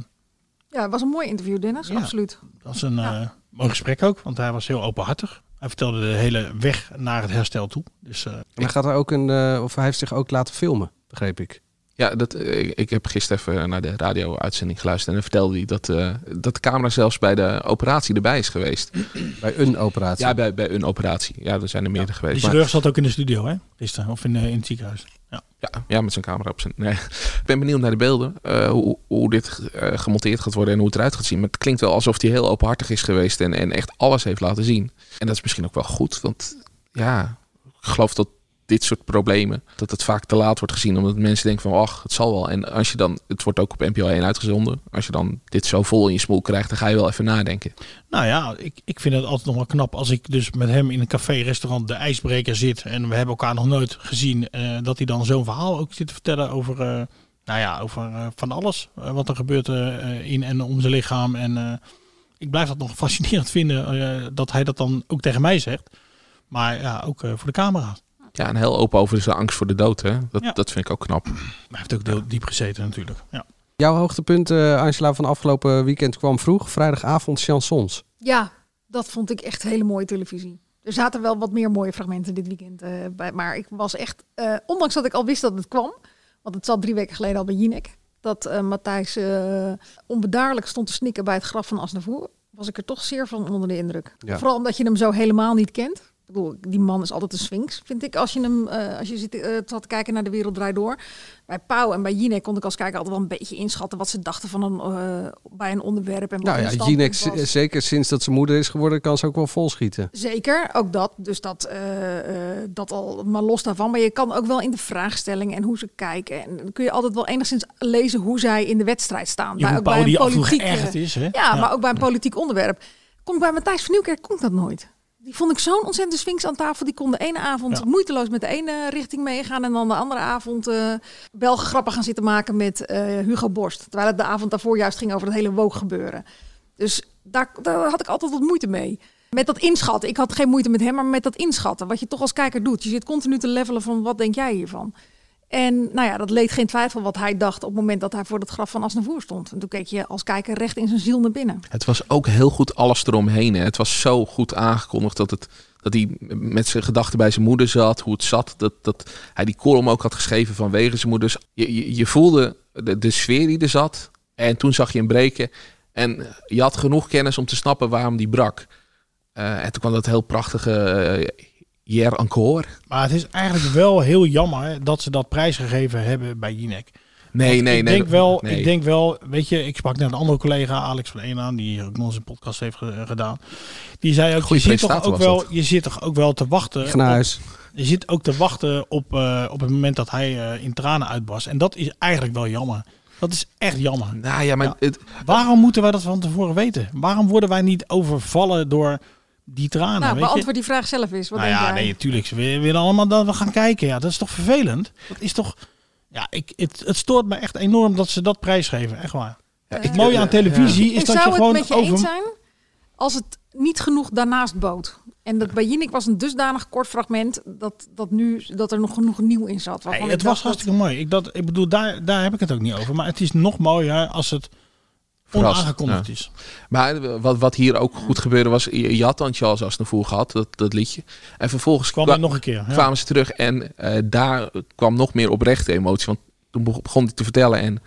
I: Ja, het was een mooi interview, Dennis, absoluut.
B: dat was een eh, mooi gesprek ook, want hij was heel openhartig. Hij vertelde de hele weg naar het herstel toe. Dus eh,
C: En hij, gaat er ook een, eh, of hij heeft zich ook laten filmen, begreep ik.
H: Ja, dat, eh, ik, ik heb gisteren even naar de radio-uitzending geluisterd. En dan vertelde hij dat, eh, dat de camera zelfs bij de operatie erbij is geweest.
C: Bij een operatie?
H: Ja, bij, bij een operatie. Ja, er zijn er meerdere
B: die
H: geweest. maar-
B: chirurg zat ook in de studio, hè? Gisteren, of in, eh, in het ziekenhuis. Ja.
H: ja, ja, met zijn camera op zijn... Nee. Ik ben benieuwd naar de beelden. eh, hoe, hoe dit eh, gemonteerd gaat worden en hoe het eruit gaat zien. Maar het klinkt wel alsof hij heel openhartig is geweest. En, en echt alles heeft laten zien. En dat is misschien ook wel goed. Want ja, ik geloof dat dit soort problemen... dat het vaak te laat wordt gezien. Omdat mensen denken van, ach, het zal wel. En als je dan... Het wordt ook op NPO 1 uitgezonden. Als je dan dit zo vol in je smoel krijgt... dan ga je wel even nadenken.
B: Nou ja, ik, ik vind het altijd nog wel knap als ik dus met hem in een café, restaurant, de ijsbreker zit. En we hebben elkaar nog nooit gezien. eh, dat hij dan zo'n verhaal ook zit te vertellen over, eh, nou ja, over eh, van alles. eh, wat er gebeurt eh, in en om zijn lichaam. En eh, ik blijf dat nog <laughs> fascinerend vinden eh, dat hij dat dan ook tegen mij zegt. Maar ja, ook eh, voor de camera.
H: Ja, en heel open over zijn angst voor de dood. Hè? Dat,
B: Ja.
H: dat vind ik ook knap.
B: Maar hij heeft ook heel diep gezeten natuurlijk. Ja.
C: Jouw hoogtepunt, eh, Angela, van afgelopen weekend kwam vroeg. Vrijdagavond chansons.
I: Ja, dat vond ik echt hele mooie televisie. Er zaten wel wat meer mooie fragmenten dit weekend eh, bij. Maar ik was echt, eh, ondanks dat ik al wist dat het kwam, want het zat drie weken geleden al bij Jinek, dat eh, Matthijs eh, onbedaarlijk stond te snikken bij het graf van Asnavoer, was ik er toch zeer van onder de indruk.
M: Ja.
I: Vooral omdat je hem zo helemaal niet kent. Ik bedoel, die man is altijd een sphinx, vind ik. Als je hem, eh, als je zit, eh, zat te kijken naar de wereld draait door. Bij Pauw en bij Jinek kon ik als kijker altijd wel een beetje inschatten wat ze dachten van een, eh, bij een onderwerp. En wat
C: Nou
I: hun
C: ja,
I: standpunt
C: Jinek,
I: was.
C: z- zeker sinds dat ze moeder is geworden, kan ze ook wel volschieten.
I: Zeker, ook dat. Dus dat, eh, eh, dat al, maar los daarvan. Maar je kan ook wel in de vraagstelling en hoe ze kijken. En dan kun je altijd wel enigszins lezen hoe zij in de wedstrijd staan.
B: Jeroen
I: ook
B: Pauw die af en toe
I: eh,
B: geërgerd is, hè?
I: Ja,
B: Ja.
I: maar ook bij een politiek onderwerp. Komt bij Matthijs van Nieuwkerk komt dat nooit. Die vond ik zo'n ontzettend sphinx aan tafel. Die kon de ene avond
B: Ja.
I: moeiteloos met de ene richting meegaan. En dan de andere avond eh, wel grappen gaan zitten maken met eh, Hugo Borst. Terwijl het de avond daarvoor juist ging over het hele woke gebeuren. Dus daar, daar had ik altijd wat moeite mee. Met dat inschatten. Ik had geen moeite met hem, maar met dat inschatten. Wat je toch als kijker doet. Je zit continu te levelen van wat denk jij hiervan. En nou ja, dat leed geen twijfel wat hij dacht op het moment dat hij voor het graf van Asnavoer stond. En toen keek je als kijker recht in zijn ziel naar binnen.
B: Nou,
H: Het was ook heel goed alles eromheen. Hè. Het was zo goed aangekondigd dat, het, dat hij met zijn gedachten bij zijn moeder zat, hoe het zat. Dat, dat hij die column ook had geschreven vanwege zijn moeders. Je, je, je voelde de, de sfeer die er zat. En toen zag je hem breken. En je had genoeg kennis om te snappen waarom die brak. Eh, en toen kwam dat heel prachtige eh, hier encore.
B: Maar het is eigenlijk wel heel jammer dat ze dat prijsgegeven hebben bij Jinek.
H: Nee,
B: Want
H: nee,
B: ik
H: nee,
B: Denk wel,
H: nee.
B: Ik denk wel, weet je, ik sprak net een andere collega, Alex van Een aan, die hier ook nog eens een podcast heeft ge- gedaan. Die zei ook,
H: Goeie
B: je, zit toch
H: presentator
B: ook
H: was
B: wel,
H: dat.
B: je zit toch ook wel te wachten.
C: Gnaus.
B: op- Je zit ook te wachten op, eh, op het moment dat hij eh, in tranen uitbarst. En dat is eigenlijk wel jammer. Dat is echt jammer.
H: Nou ja, maar het-
B: Waarom moeten wij dat van tevoren weten? Waarom worden wij niet overvallen door die tranen?
I: nou,
B: weet je?
I: beantwoord die vraag zelf eens. Wat
B: nou
I: denk
B: ja,
I: jij?
B: nee, natuurlijk. Ze willen willen allemaal dat we gaan kijken. Ja, dat is toch vervelend? Dat is toch... Ja, ik, het, het stoort me echt enorm dat ze dat prijsgeven. Echt waar. het mooie aan televisie is
I: Eh,
B: dat
I: ik
B: je
I: zou
B: gewoon
I: het met je
B: over...
I: eens zijn als het niet genoeg daarnaast bood. En dat bij Jinek was een dusdanig kort fragment dat, dat, nu, dat er nog genoeg nieuw in zat. waarvan
B: Nee,
I: ik
B: het was
I: dacht dat-
B: hartstikke mooi. Ik, dat, ik bedoel, daar, daar heb ik het ook niet over. Maar het is nog mooier als het
H: Verrast,
B: onaangekondigd
H: ja.
B: is.
H: Maar wat, wat hier ook goed gebeurde was, je, je had dan Charles Aznavour gehad, dat, dat liedje. En vervolgens
B: Kwam
H: kwa-
B: hij nog een keer, ja.
H: kwamen ze terug en eh, daar kwam nog meer oprechte emotie. Want toen beg- begon hij te vertellen en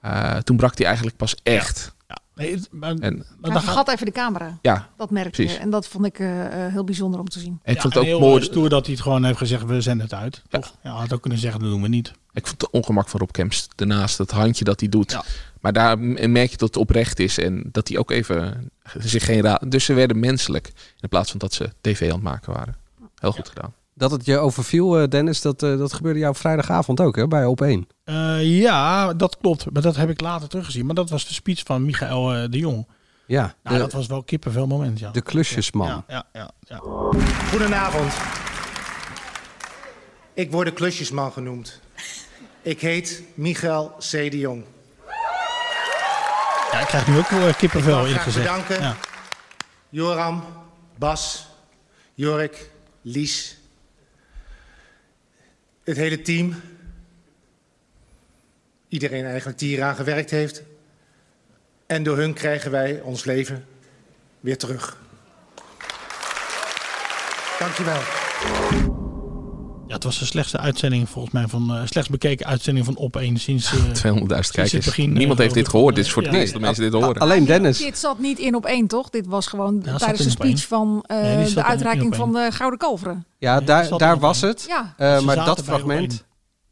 H: eh, toen brak hij eigenlijk pas echt.
B: Nee, het- maar,
H: En-
B: maar
I: Hij
B: Nou, dan gaat...
I: vergat even de camera.
H: Ja,
I: Dat merkte je.
H: precies.
I: En dat vond ik eh, eh, heel bijzonder om te zien.
H: En ik
B: Ja,
H: vond
B: en
H: het ook
B: heel
H: mooi.
B: eh, stoer dat hij het gewoon heeft gezegd, we zenden het uit. Toch? Ja, had ook kunnen zeggen, dat doen we niet.
H: Ik vond het ongemak van Rob Kemps daarnaast, dat handje dat hij doet. Maar daar m- merk je dat het oprecht is en dat hij ook even zich geen raad... Dus ze werden menselijk in plaats van dat ze tv aan het maken waren. Heel goed gedaan.
C: Dat het je overviel, eh, Dennis, dat, eh, dat gebeurde jou vrijdagavond ook, hè? Bij Op 1.
B: Eh, ja, dat klopt. Maar dat heb ik later teruggezien. Maar dat was de speech van Michael eh, de Jong.
C: Ja.
B: Nou,
C: de-
B: dat was wel kippenvel moment, ja.
C: De klusjesman.
B: Ja, ja, ja. ja.
M: Goedenavond. Ik word de klusjesman genoemd. Ik heet Michael C. de Jong.
B: Ja, ik krijg nu ook wel eh,
M: Ik
B: kippenvel,
M: wil
B: eerlijk
M: graag
B: gezegd.
M: bedanken.
B: Ja.
M: Joram, Bas, Jorik, Lies. Het hele team. Iedereen eigenlijk die hier aan gewerkt heeft. En door hun krijgen wij ons leven weer terug. Dankjewel.
B: Ja, het was de slechtste uitzending volgens mij van eh slechts bekeken uitzending van op één sinds eh,
H: 200.000
B: sinds
H: kijkers.
B: het begin, eh,
H: Niemand heeft dit
B: geloof ik, van,
H: gehoord. Dit is voor
B: eh,
H: het eerst dat mensen dit horen.
C: alleen Dennis.
I: Dit zat niet in op één, toch? Dit was gewoon
C: zat
I: tijdens
C: in
I: de
C: op één.
I: speech van eh,
C: Nee, die zat
I: de
C: in-
I: uitreiking
C: in op
I: van de Gouden Kalveren.
C: Ja, daar, daar was het.
I: Ja.
C: Eh,
B: Ze
C: maar
B: zaten
C: dat
B: bij
C: fragment.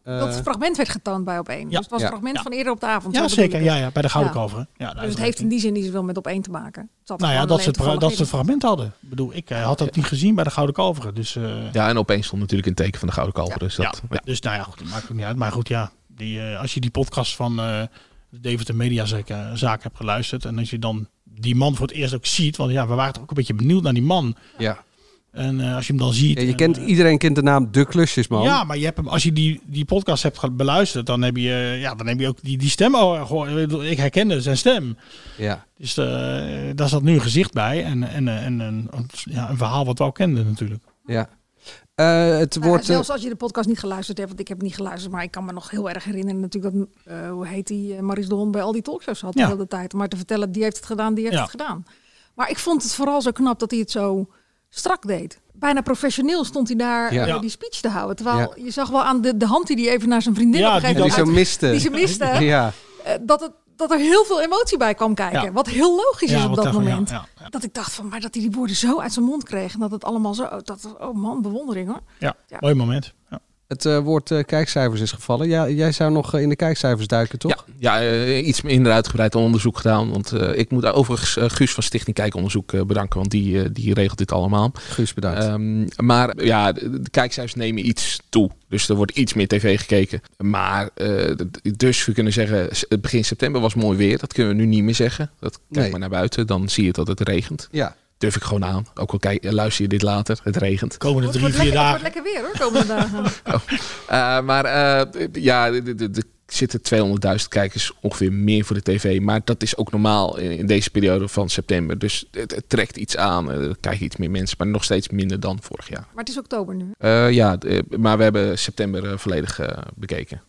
C: eh,
I: Dat fragment werd getoond bij op één. dus het was
C: Ja.
I: een fragment van eerder op de avond.
B: Ja,
I: zo bedoel
B: zeker.
I: ik het.
B: Ja, ja, bij de Gouden Kalveren. Ja, de
I: dus het
B: uitreiking.
I: heeft in die zin niet zoveel met op één te maken. Het zat
B: Nou ja,
I: gewoon
B: dat
I: alleen
B: ze, het, dat
I: toevallig
B: ze het
I: in.
B: fragment hadden. Ik bedoel, ik eh, had dat niet gezien bij de Gouden Kalveren. Dus, eh,
H: Ja, en opeens stond natuurlijk een teken van de Gouden Kalver. Dus dat, ja.
B: dus nou ja, goed, dat maakt ook niet uit. Maar goed, ja, die, eh, als je die podcast van eh de Deventer Media Zaak, eh, Zaak hebt geluisterd... en als je dan die man voor het eerst ook ziet... want ja, we waren toch ook een beetje benieuwd naar die man.
C: Ja.
B: En eh, als je hem dan ziet...
C: Ja, je
B: en,
C: kent,
B: eh,
C: iedereen kent de naam De Klusjesman.
B: Ja, maar je hebt hem, als je die, die podcast hebt ge- beluisterd, dan heb je, eh, ja, dan heb je ook die, die stem al gehoord. Ik bedoel, Ik herkende zijn stem.
C: Ja.
B: Dus eh, daar zat nu een gezicht bij en, en, eh, en, een- een- ja, een verhaal wat we al kenden natuurlijk.
C: Ja. Eh, het
I: Nou,
C: wordt... eh,
I: zelfs als je de podcast niet geluisterd hebt, want ik heb niet geluisterd, maar ik kan me nog heel erg herinneren natuurlijk dat, eh, hoe heet die, eh, Maurice de Hond bij al die talkshows had
N: Ja.
I: de hele tijd. Maar te vertellen, die heeft het gedaan, die heeft
N: Ja.
I: het gedaan. Maar ik vond het vooral zo knap dat hij het zo strak deed. Bijna professioneel stond hij daar
C: Ja.
I: eh,
C: Ja.
I: die speech te houden. Terwijl
C: Ja.
I: je zag wel aan de, de hand die hij even naar zijn vriendin op een gegeven
C: die
I: moment
C: zo
I: uit-
C: miste.
I: Die ze miste.
C: Ja.
I: eh, dat, het, dat er heel veel emotie bij kwam kijken.
C: Ja.
I: Wat heel logisch
C: Ja,
I: is op
C: wat
I: dat
C: daarvan, ja,
I: moment.
C: ja,
I: Dat ik dacht van, maar dat hij die woorden zo uit zijn mond kreeg. En dat het allemaal zo, dat, oh man, bewondering hoor.
B: Ja,
I: Ja.
B: mooi moment. Ja.
C: Het eh, woord eh, kijkcijfers is gevallen. Ja, jij zou nog eh, in de kijkcijfers duiken, toch?
H: Ja, eh, iets minder uitgebreid onderzoek gedaan. Want eh, ik moet overigens eh, Guus van Stichting Kijkonderzoek eh, bedanken. Want die, eh, die regelt dit allemaal. Ehm,
C: Guus, bedankt.
B: Eh.
H: maar ja, de, de kijkcijfers nemen iets toe. Dus er wordt iets meer tv gekeken. Maar eh, d- dus we kunnen zeggen, s- begin september was mooi weer. Dat kunnen we nu niet meer zeggen. Dat kijk
C: Nee.
H: maar naar buiten. Dan zie je dat het regent.
C: Ja.
H: Durf ik gewoon aan. Ook al kijk, luister je dit later. Het regent.
B: Komende
H: Oh.
I: Het wordt lekker, het wordt lekker weer hoor, komende dagen.
H: Eh, maar eh, ja, de, de, de zitten 200.000 kijkers ongeveer meer voor de tv. Maar dat is ook normaal in, in deze periode van september. Dus het, het trekt iets aan. eh, Er kijken iets meer mensen, maar nog steeds minder dan vorig jaar.
I: Maar het is oktober nu.
H: Eh, ja, d- maar we hebben september eh, volledig eh, bekeken.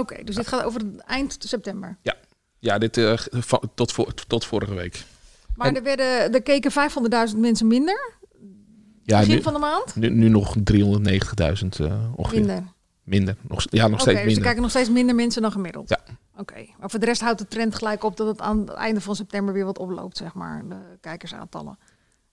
I: Oké, dus dit gaat over het eind september.
H: Ja, ja dit, eh, ge- va- tot, voor, tot vorige week.
I: Maar
H: En-
I: er, werden, er keken 500.000 mensen minder.
H: Ja,
I: begin
H: nu-
I: van de maand?
H: Nu, nu nog 390.000 eh, ongeveer.
I: Minder.
H: Minder. Nog, ja, nog
I: Oké,
H: steeds
I: dus er
H: minder.
I: kijken nog steeds minder mensen dan gemiddeld.
H: Ja.
I: Oké, maar voor de rest houdt de trend gelijk op dat het aan het einde van september weer wat oploopt, zeg maar, de kijkersaantallen.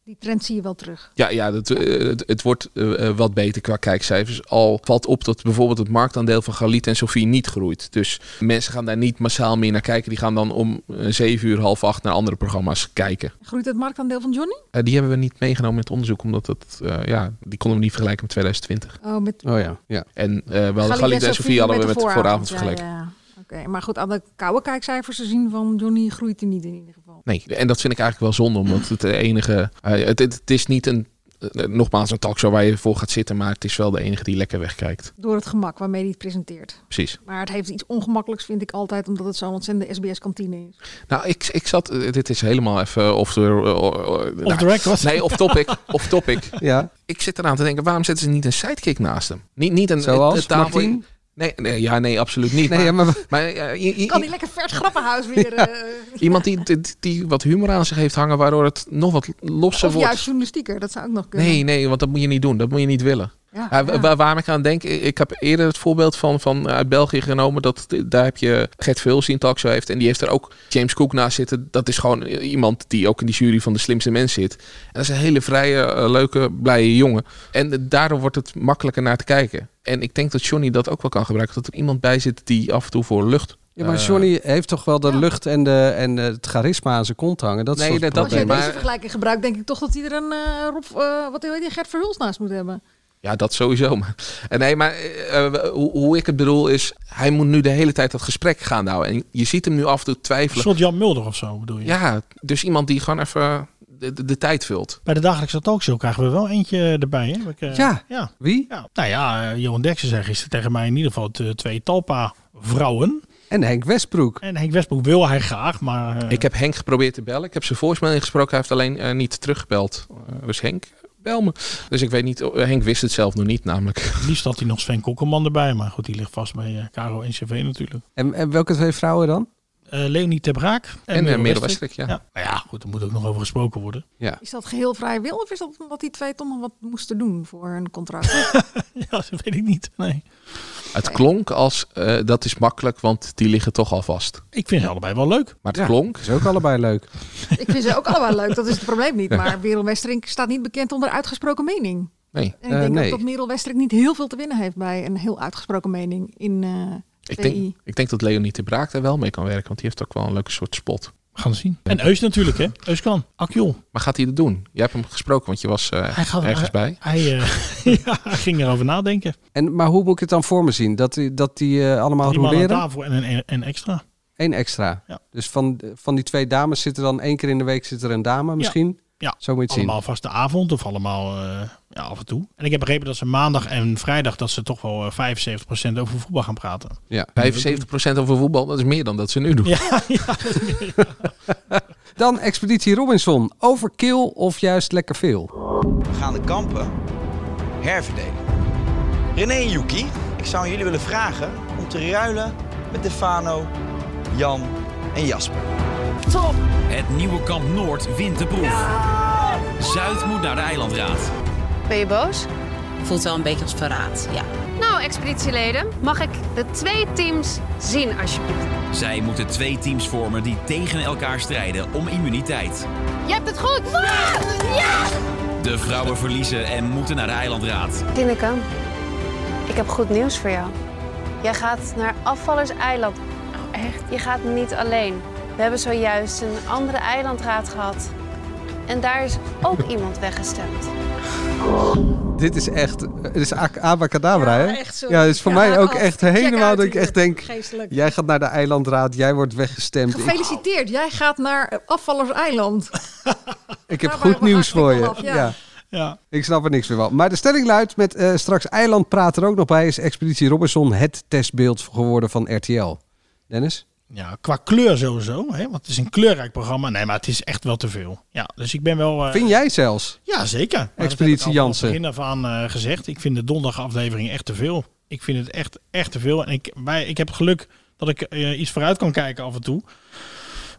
I: Die trend zie je wel terug.
H: Ja, ja dat, eh, het, het wordt eh, eh, wat beter qua kijkcijfers. Al valt op dat bijvoorbeeld het marktaandeel van Galit en Sofie niet groeit. Dus mensen gaan daar niet massaal meer naar kijken. Die gaan dan om eh, 7 uur, half acht naar andere programma's kijken.
I: Groeit het marktaandeel van Johnny?
H: Eh, die hebben we niet meegenomen in het onderzoek, omdat dat, eh, ja, die konden we niet vergelijken met 2020.
I: Oh, met
C: Oh ja,
B: <laughs>
C: ja.
H: En eh wel Galit en Sofie hadden we met de vooravond, vergeleken.
I: Ja, ja, ja. Oké, maar goed, aan de koude kijkcijfers te zien van Johnny groeit hij niet in ieder geval.
H: Nee, en dat vind ik eigenlijk wel zonde, omdat het de enige... eh, het, het, het is niet een, eh, nogmaals een talkshow waar je voor gaat zitten, maar het is wel de enige die lekker wegkijkt.
I: Door het gemak waarmee hij het presenteert.
H: Precies.
I: Maar het heeft iets ongemakkelijks, vind ik altijd, omdat het zo'n ontzettende SBS-kantine is.
H: Nou, ik, ik zat. eh, Dit is helemaal even off the, eh,
B: Off the record.
H: nou, Nee, off topic. off topic.
C: Ja.
H: Ik zit eraan te denken, waarom zetten ze niet een sidekick naast hem? Niet, niet een,
C: Zoals
H: een tafel.
C: Martien?
H: Nee, nee, ja, nee, absoluut niet.
C: Nee, ja, maar-
H: maar, eh, i- i-
I: Kan die lekker vers grappenhuis
H: <laughs>
I: weer... eh,
H: iemand die, die, die wat humor aan zich heeft hangen, waardoor het nog wat losser
I: of
H: wordt.
I: juist journalistieker, dat zou ook nog kunnen.
H: Nee, nee, want dat moet je niet doen. Dat moet je niet willen.
I: Ja,
H: Ja, wa-
I: ja.
H: Waar, waar ik aan denk, i- ik heb eerder het voorbeeld van, van eh, uit België genomen. Dat, daar heb je Gert Vuls die een talkshow heeft. En die heeft er ook James Cook naast zitten. Dat is gewoon i- iemand die ook in die jury van de slimste mens zit. En dat is een hele vrije, eh, leuke, blije jongen. En eh, daardoor wordt het makkelijker naar te kijken. En ik denk dat Johnny dat ook wel kan gebruiken. Dat er iemand bij zit die af en toe voor lucht...
C: Ja, maar
H: eh,
C: Johnny heeft toch wel de lucht en, de, en eh, het charisma aan zijn kont hangen. Dat is
H: Nee,
C: toch het
H: dat- dat
I: Als jij
C: probleem?
H: niet,
I: deze
H: maar-
I: vergelijking gebruikt, denk ik toch dat hij er een eh, Rob, eh, wat heet die, Gert Verhulst naast moet hebben.
H: Ja, dat sowieso. <laughs> Maar, en nee, maar eh, eh, hoe, hoe ik het bedoel is, hij moet nu de hele tijd dat gesprek gaan houden. En je ziet hem nu af en toe
B: Een
H: twijfelen.
B: soort Jan Mulder of zo bedoel je?
H: Ja, dus iemand die gewoon even de, de, de tijd vult.
B: Bij de dagelijkse talkshow krijgen we wel eentje erbij. Hè? We k-
C: Ja.
B: ja.
C: Wie?
B: Ja. Nou ja, eh, Johan Derksen zei gisteren tegen mij in ieder geval t- twee talpa vrouwen.
C: En Henk Westbroek.
B: En Henk Westbroek wil hij graag, maar... eh,
H: Ik heb Henk geprobeerd te bellen. Ik heb zijn voicemail ingesproken. Hij heeft alleen eh, niet teruggebeld. Eh, dus Henk, bel me. Dus ik weet niet, eh, Henk wist het zelf nog niet namelijk.
B: Het liefst had hij nog Sven Kokkelman erbij, maar goed, die ligt vast bij eh, Caro en CV natuurlijk.
C: En, en welke twee vrouwen dan?
B: Eh Leonie Tebraak en,
H: En, eh,
B: Merel
H: Merel
B: Westrik.
H: Westrik, ja.
B: Nou ja, goed, er moet ook nog over gesproken worden. <laughs>
C: Ja.
I: Is dat geheel vrij wil of is dat omdat die twee toch nog wat moesten doen voor een contract?
B: ja, dat weet ik niet. Nee.
H: Het klonk als, eh, dat is makkelijk, want die liggen toch al vast.
B: Ik vind ze allebei wel leuk.
H: Maar het
C: Ja.
H: klonk.
C: Dat is ook allebei leuk.
I: ik vind ze ook allemaal leuk, dat is het probleem niet. Maar Merel Westering staat niet bekend onder uitgesproken mening.
H: Nee,
I: En ik
C: Eh,
I: denk
C: nee.
I: ook dat Merel Westering niet heel veel te winnen heeft bij een heel uitgesproken mening in eh
H: ik
I: VI.
H: denk, ik denk dat Leonie de Braak daar wel mee kan werken. Want die heeft ook wel een leuke soort spot.
B: We gaan het zien. En Eus natuurlijk, hè. Eus kan. Akjol.
H: Maar gaat hij dat doen? Jij hebt hem gesproken, want je was eh,
B: Hij gaat
H: ergens
B: hij-
H: bij.
B: Hij, eh, <laughs> ja, hij ging erover nadenken.
C: En, maar hoe moet ik het dan voor me zien? Dat die, dat die eh, allemaal
B: Drie man aan
C: roleren?
B: tafel en een en extra.
C: Eén extra.
B: Ja.
C: Dus van, van die twee dames zit er dan één keer in de week zit er een dame misschien?
B: Ja.
C: Zo moet je het zien.
B: Allemaal vaste avond of allemaal eh, ja, af en toe. En ik heb begrepen dat ze maandag en vrijdag dat ze toch wel eh, 75% over voetbal gaan praten.
C: Ja.
H: 75% over voetbal, dat is meer dan dat ze nu doen.
B: Ja, ja.
C: Dan Expeditie Robinson. Overkill of juist lekker veel?
N: We gaan de kampen herverdelen. René en Yuki, ik zou jullie willen vragen om te ruilen met Defano, Jan en Jasper. Top!
O: Het nieuwe kamp Noord wint de proef. Zuid moet naar de eilandraad.
P: Ben je boos? Voelt wel een beetje als verraad, ja. Nou, expeditieleden, mag ik de twee teams zien alsjeblieft?
O: Zij moeten twee teams vormen die tegen elkaar strijden om immuniteit.
P: Je hebt het goed! Ah, Ja!
O: De vrouwen verliezen en moeten naar de eilandraad.
P: Tineke, ik heb goed nieuws voor jou. Jij gaat naar Afvallers Eiland. Oh, echt? Je gaat niet alleen. We hebben zojuist een andere eilandraad gehad. En daar is ook iemand weggestemd.
C: Dit is echt, het is a- abacadabra,
P: Ja,
C: hè?
P: echt zo.
C: Ja, het is voor
P: Ja,
C: mij ook
P: af.
C: echt
P: Check
C: helemaal
P: uit
C: dat ik
P: hier.
C: echt denk...
I: Geestelijk.
C: Jij gaat naar de eilandraad, jij wordt weggestemd. Ik,
I: Gefeliciteerd, jij gaat naar eh, Afvallers
P: <laughs>
I: Eiland.
C: ik heb
P: Nou,
I: Daar
C: goed
I: waren we
C: nieuws voor
I: eigenlijk
C: je.
I: al af,
C: ja.
I: ja.
B: ja.
C: ik snap er niks meer van. Maar de stelling luidt met eh, straks eiland praat er ook nog bij... is Expeditie Robinson het testbeeld geworden van RTL. Dennis?
B: Ja, qua kleur sowieso. Hè? Want het is een kleurrijk programma. Nee, maar het is echt wel te veel. Ja, dus ik ben wel... eh,
C: Vind jij zelfs?
B: Ja, zeker. Maar dat
C: Expeditie
B: heb ik al vanaf
C: Jansen.
B: het begin af aan eh, gezegd. Ik vind de donderdagaflevering echt te veel. Ik vind het echt, echt te veel. En ik, wij, ik heb geluk dat ik eh, iets vooruit kan kijken af en toe.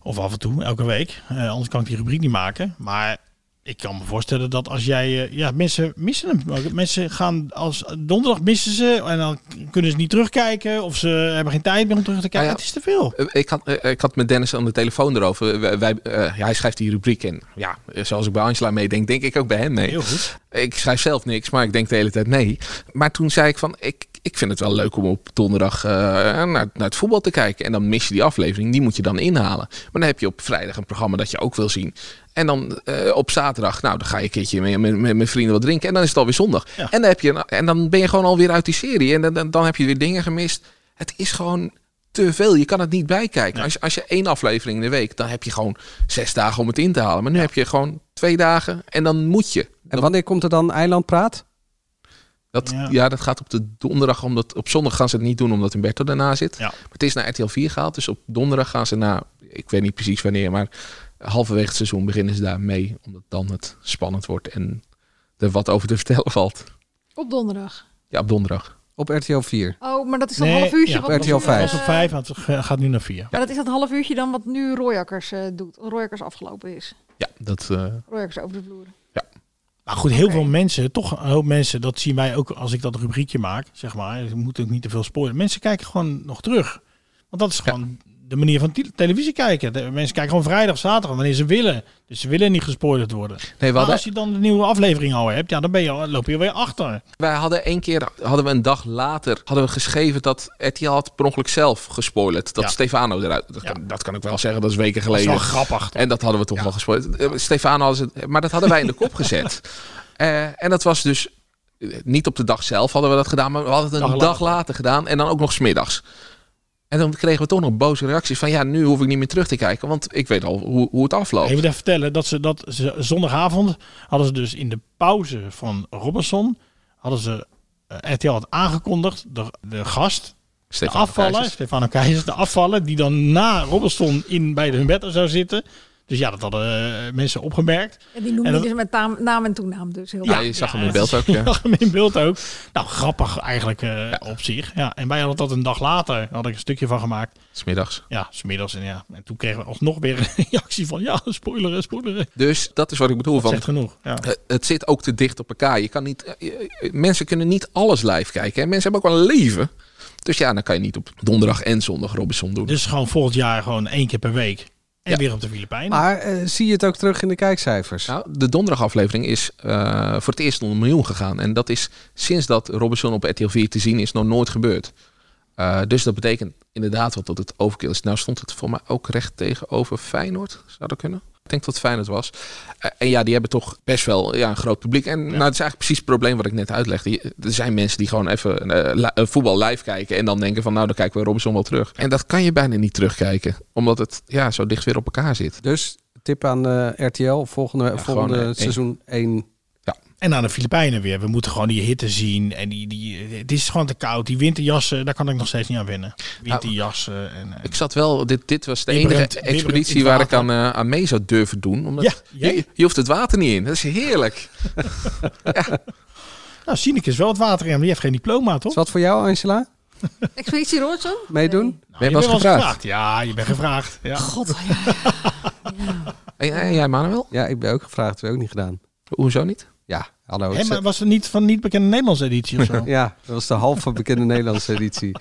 B: Of af en toe, elke week. Eh, anders kan ik die rubriek niet maken. Maar ik kan me voorstellen dat als jij... eh, ja, mensen missen hem. ook. Mensen gaan als... Donderdag missen ze en dan kunnen ze niet terugkijken. Of ze hebben geen tijd meer om terug te
C: Ah
B: kijken. Het is te veel.
H: Eh, Ik had, eh, ik had met Dennis aan de telefoon erover. Eh, Wij, wij, eh, ja, hij schrijft die rubriek en ja, eh, zoals ik bij Angela meedenk, denk ik ook bij hem mee.
B: Heel goed.
H: Ik schrijf zelf niks, maar ik denk de hele tijd nee. Maar toen zei ik van, ik, ik vind het wel leuk om op donderdag eh, naar, naar het voetbal te kijken. En dan mis je die aflevering, die moet je dan inhalen. Maar dan heb je op vrijdag een programma dat je ook wil zien. En dan eh, op zaterdag, nou dan ga je een keertje met, met, met mijn vrienden wat drinken. En dan is het alweer zondag. En, dan heb je, een- en dan ben je gewoon alweer uit die serie. En dan, dan, dan heb je weer dingen gemist. Het is gewoon te veel. Je kan het niet bijkijken. Als, je, als je één aflevering in de week, dan heb je gewoon zes dagen om het in te halen. Maar nu heb je gewoon twee dagen en dan moet je.
C: En wanneer komt er dan Eiland Praat?
H: Dat, ja. dat gaat op de donderdag. Omdat, op zondag gaan ze het niet doen omdat Humberto daarna zit. Maar het is naar RTL 4 gehaald. Dus op donderdag gaan ze na, ik weet niet precies wanneer, maar halverwege het seizoen beginnen ze daar mee. Omdat dan het spannend wordt en er wat over te vertellen valt.
I: Op donderdag.
H: Ja, op donderdag.
C: Op RTL 4.
I: Oh, maar dat is dat half uurtje.
B: ja,
I: wat
B: dat was-
I: nu,
B: dat was
I: eh,
B: op 5, het gaat nu naar 4.
I: Maar dat is dat half uurtje dan wat nu Royakkers eh, doet. Royakkers afgelopen is.
H: Ja, dat... eh,
I: Royakkers over de vloer.
B: Maar goed, heel veel mensen, toch een hoop mensen, dat zien wij ook als ik dat rubriekje maak, zeg maar. Ik moet ook niet te veel spoilen. Mensen kijken gewoon nog terug. Want dat is gewoon de manier van te- televisie kijken. De- mensen kijken gewoon vrijdag, zaterdag, wanneer ze willen. Dus ze willen niet gespoilerd worden.
H: Nee, we
B: maar
H: hadden-
B: als je dan de nieuwe aflevering al hebt, ja, dan ben je, al- loop je weer achter.
H: Wij hadden één keer, hadden we een dag later, hadden we geschreven dat RTL had per ongeluk zelf gespoilerd. Dat Stefano eruit, dat, kan, dat kan ik wel zeggen, dat is weken
B: Dat is
H: geleden.
B: wel grappig.
H: En dat hadden we toch wel gespoilerd. Eh, Stefano hadden ze, maar dat hadden wij in de
B: <laughs>
H: kop gezet. Eh, en dat was dus, eh, niet op de dag zelf hadden we dat gedaan, maar we hadden het een
B: Dag
H: dag,
B: later.
H: later gedaan. En dan ook nog smiddags. En dan kregen we toch nog boze reacties van, ja, nu hoef ik niet meer terug te kijken, want ik weet al hoe, hoe het afloopt.
B: Even even vertellen dat ze dat ze, zondagavond hadden ze dus in de pauze van Robinson hadden ze eh, RTL had aangekondigd de, de gast
H: Stefano
B: de afvaller
H: Keizers.
B: Stefano Keizers de afvaller die dan na Robinson in bij de Humberto zou zitten. Dus ja, dat hadden eh, mensen opgemerkt.
I: En die
B: En
I: noemde
B: dat-
I: je dus met taam- naam en toenaam. Dus heel
B: Ja,
I: leuk.
H: je zag hem
B: ja,
H: in
B: <laughs>
H: beeld ook.
B: Je
H: Ja.
B: zag hem in beeld ook. Nou, grappig eigenlijk eh, op zich. Ja, en wij hadden dat een dag later, had ik een stukje van gemaakt.
H: Smiddags.
B: Ja, smiddags. En, ja. en toen kregen we alsnog weer een <laughs> reactie van, ja, spoileren, spoileren.
H: Dus dat is wat ik bedoel. van,
B: zegt genoeg, ja.
H: eh, Het zit ook te dicht op elkaar. Je kan niet, eh, eh, eh, mensen kunnen niet alles live kijken. Hè? Mensen hebben ook wel een leven. Dus ja, dan kan je niet op donderdag en zondag Robinson doen.
B: Dus gewoon volgend jaar gewoon één keer per week. En weer op de Filipijnen.
C: Maar eh, zie je het ook terug in de kijkcijfers?
H: Nou, de donderdagaflevering is eh, voor het eerst onder een miljoen gegaan. En dat is sinds dat Robinson op RTL 4 te zien is nog nooit gebeurd. Eh, dus dat betekent inderdaad wel dat het overkill is. Nou stond het voor mij ook recht tegenover Feyenoord. Zou dat kunnen? Ik denk dat het Feyenoord was. Eh, en ja, die hebben toch best wel ja, een groot publiek. En nou, het is eigenlijk precies het probleem wat ik net uitlegde. Je- Er zijn mensen die gewoon even eh, li- eh, voetbal live kijken. En dan denken van nou, dan kijken we Robinson wel terug. En dat kan je bijna niet terugkijken. Omdat het ja, zo dicht weer op elkaar zit.
C: Dus tip aan eh, RTL volgende, volgende
H: gewoon, eh,
C: seizoen 1.
B: En aan de Filipijnen weer. We moeten gewoon die hitte zien. En die, die, het is gewoon te koud. Die winterjassen, daar kan ik nog steeds niet aan wennen. Winterjassen. En, eh,
H: Ik zat wel, dit, dit was de
B: Bibberend-
H: enige
B: bibberend
H: expeditie
B: in het
H: waar ik aan, eh, aan mee zou durven doen. Omdat
B: Ja, jij?
H: je, je hoeft het water niet in. Dat is heerlijk.
B: nou, Sineke is wel het water in, maar die heeft geen diploma, toch? Is
C: wat voor jou, Angela?
I: Expeditie Robinson?
C: Meedoen?
H: Ben je
B: wel
H: wel eens gevraagd?
B: Ja, je Nou, bent gevraagd. Ja.
I: God,
B: <laughs>
H: En Eh, jij, Manuel?
C: Ja, ik ben ook gevraagd. Heb ik ook niet gedaan.
H: Hoezo niet?
C: Ja, hallo.
B: Hé,
C: het
B: maar was er niet van niet bekende Nederlandse editie of
H: <laughs>
B: zo?
C: Ja, dat was de halve bekende <laughs> Nederlandse editie.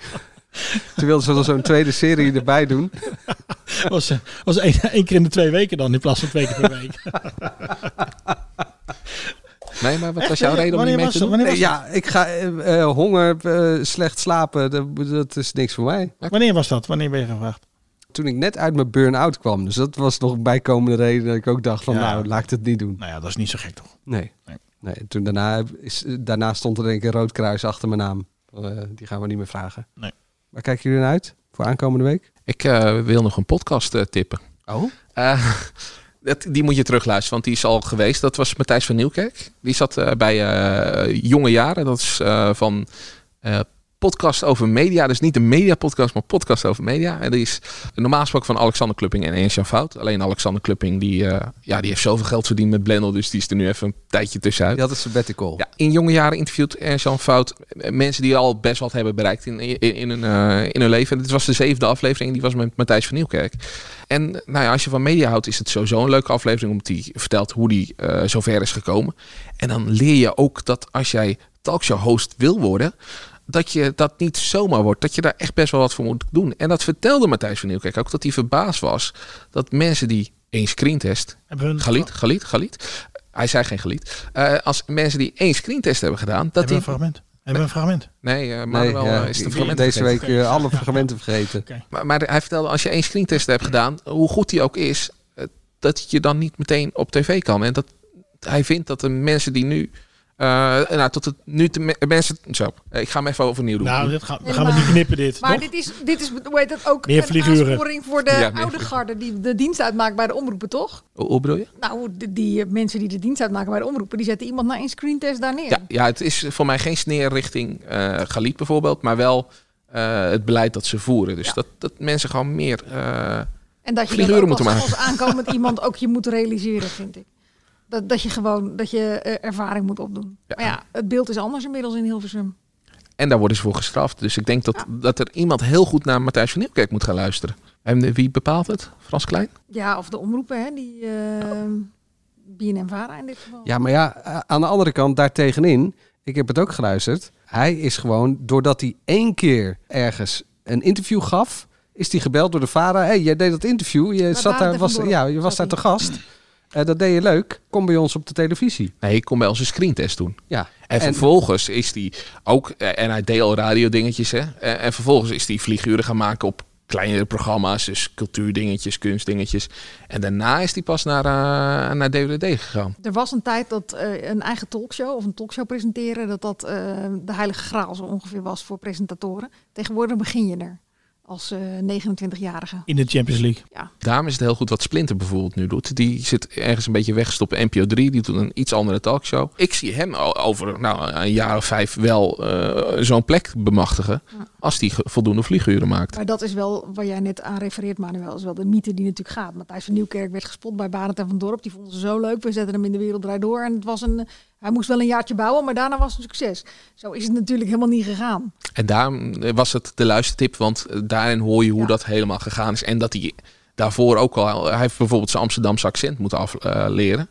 C: Toen wilden ze nog zo'n tweede serie erbij doen.
B: was eh, was één, één keer in de twee weken dan, in plaats van twee keer per
H: <laughs>
B: week.
H: Nee, maar wat
B: Echt,
H: was jouw
B: wanneer-
H: reden om niet mee
B: wanneer was
H: te doen?
B: het? Wanneer
C: Nee, ja, ik ga eh, eh, honger, eh, slecht slapen. Dat, dat is niks voor mij.
B: Wanneer was dat? Wanneer ben je gevraagd?
C: Toen ik net uit mijn burn-out kwam. Dus dat was nog een bijkomende reden dat ik ook dacht van
B: Ja.
C: nou, laat ik het niet doen.
B: Nou ja, dat is niet zo gek, toch?
C: Nee.
B: Nee.
C: nee en toen daarna, heb- is, daarna stond er denk ik een rood kruis achter mijn naam. Eh, die gaan we niet meer vragen.
B: Nee.
C: Maar kijken jullie naar uit voor aankomende week?
H: Ik eh, wil nog een podcast eh, tippen.
C: Oh?
H: dat, Eh, die moet je terugluisteren, want die is al geweest. Dat was Matthijs van Nieuwkerk. Die zat eh, bij eh, Jonge Jaren. Dat is eh, van eh, podcast over media. Dus niet een mediapodcast, maar podcast over media. En die is normaal gesproken van Alexander Klupping en Ernst-Jan Fout. Alleen Alexander Klupping, die, eh, ja, die heeft zoveel geld verdiend met Blendel. Dus die is er nu even een tijdje tussenuit.
C: Dat is sabbatical.
H: Ja, in jonge jaren interviewt Ernst-Jan Fout eh, mensen die al best wat hebben bereikt in, in, in, hun, eh, in hun leven. En dit was de zevende aflevering. Die was met Matthijs van Nieuwkerk. En nou ja, als je van media houdt, is het sowieso een leuke aflevering. Omdat die vertelt hoe die eh, zover is gekomen. En dan leer je ook dat als jij talkshow-host wil worden dat je dat niet zomaar wordt. Dat je daar echt best wel wat voor moet doen. En dat vertelde Matthijs van Nieuwkerk ook. Dat hij verbaasd was dat mensen die één screentest...
B: Hebben hun-
H: Galiet, Galiet, Galiet. Hij zei geen Galiet. Eh, als mensen die één screentest hebben gedaan... Dat
B: Hebben we
H: die,
B: een fragment? Hebben we een fragment?
H: Nee, eh maar wel
B: Nee, ja,
H: is
B: ik-
H: de
B: ik-
H: fragment
B: deze
H: vergeten.
B: week, eh, alle
H: <laughs> Ja.
C: fragmenten vergeten.
H: Maar, maar hij vertelde, als je één screentest hebt gedaan, hoe goed die ook is, eh, dat je dan niet meteen op tv kan. En dat hij vindt dat de mensen die nu. eh, nou, tot het nu de me- mensen. Zo, eh, ik ga hem even overnieuw doen.
B: Nou, dit gaan- we gaan we niet knippen dit,
I: Maar
B: toch?
I: dit is, dit is hoe heet dat, ook
H: Meer
I: een
H: vlieguren.
I: aansporing voor de
H: Ja, meer
I: oude
H: vlieguren.
I: garde die de dienst uitmaakt bij de omroepen, toch?
H: Hoe, hoe bedoel je?
I: Nou, die, die mensen die de dienst uitmaken bij de omroepen, die zetten iemand na een screentest daar neer.
H: Ja, ja, het is voor mij geen sneer richting eh Galit bijvoorbeeld, maar wel eh, het beleid dat ze voeren. Dus dat, dat mensen gewoon meer. eh
I: En dat je dat
H: Figuren
I: ook
H: moeten
I: als,
H: maken.
I: als aankomend <laughs> iemand ook je moet realiseren, vind ik. Dat, dat je gewoon dat je eh, ervaring moet opdoen. Maar ja, het beeld is anders inmiddels in Hilversum.
H: en daar worden ze voor gestraft. Dus ik denk dat, dat er iemand heel goed naar Matthijs van Nieuwkerk moet gaan luisteren. En eh, wie bepaalt het? Frans Klein?
I: Ja, of de omroepen, hè, die eh BNM-Vara in dit geval.
C: Ja, maar ja, a- aan de andere kant, daartegenin, ik heb het ook geluisterd. Hij is gewoon, doordat hij één keer ergens een interview gaf, is hij gebeld door de VARA. Hé, hey, jij deed dat interview, je, zat
I: Barend
C: daar,
I: en
C: was,
I: Van
C: ja, je was daar te gast. Eh, dat deed je leuk, kom bij ons op de televisie.
H: Nee, ik kon bij ons een screentest doen.
C: Ja.
H: En vervolgens is die ook, eh, en hij deed al radio dingetjes, hè. Eh, En vervolgens is die figuren gaan maken op kleinere programma's, dus cultuurdingetjes, kunstdingetjes. En daarna is die pas naar, eh, naar DWD gegaan.
I: Er was een tijd dat eh, een eigen talkshow of een talkshow presenteren, dat dat eh, de heilige graal zo ongeveer was voor presentatoren. Tegenwoordig begin je er als eh, 29-jarige.
B: In de Champions League.
H: Daarom is het heel goed wat Splinter bijvoorbeeld nu doet. Die zit ergens een beetje weggestopt op NPO 3. Die doet een iets andere talkshow. Ik zie hem al over nou, een jaar of vijf wel eh, zo'n plek bemachtigen. Als die ge- voldoende vlieguren maakt.
I: Maar dat is wel waar jij net aan refereert, Manuel. is wel de mythe die natuurlijk gaat. Matthijs van Nieuwkerk werd gespot bij Barend en van Dorp. Die vonden ze zo leuk. We zetten hem in de wereld draait door. En het was een, hij moest wel een jaartje bouwen, maar daarna was het een succes. Zo is het natuurlijk helemaal niet gegaan.
H: En daarom was het de luistertip. Want daarin hoor je hoe dat helemaal gegaan is. En dat hij daarvoor ook al... Hij heeft bijvoorbeeld zijn Amsterdamse accent moeten eh, afleren.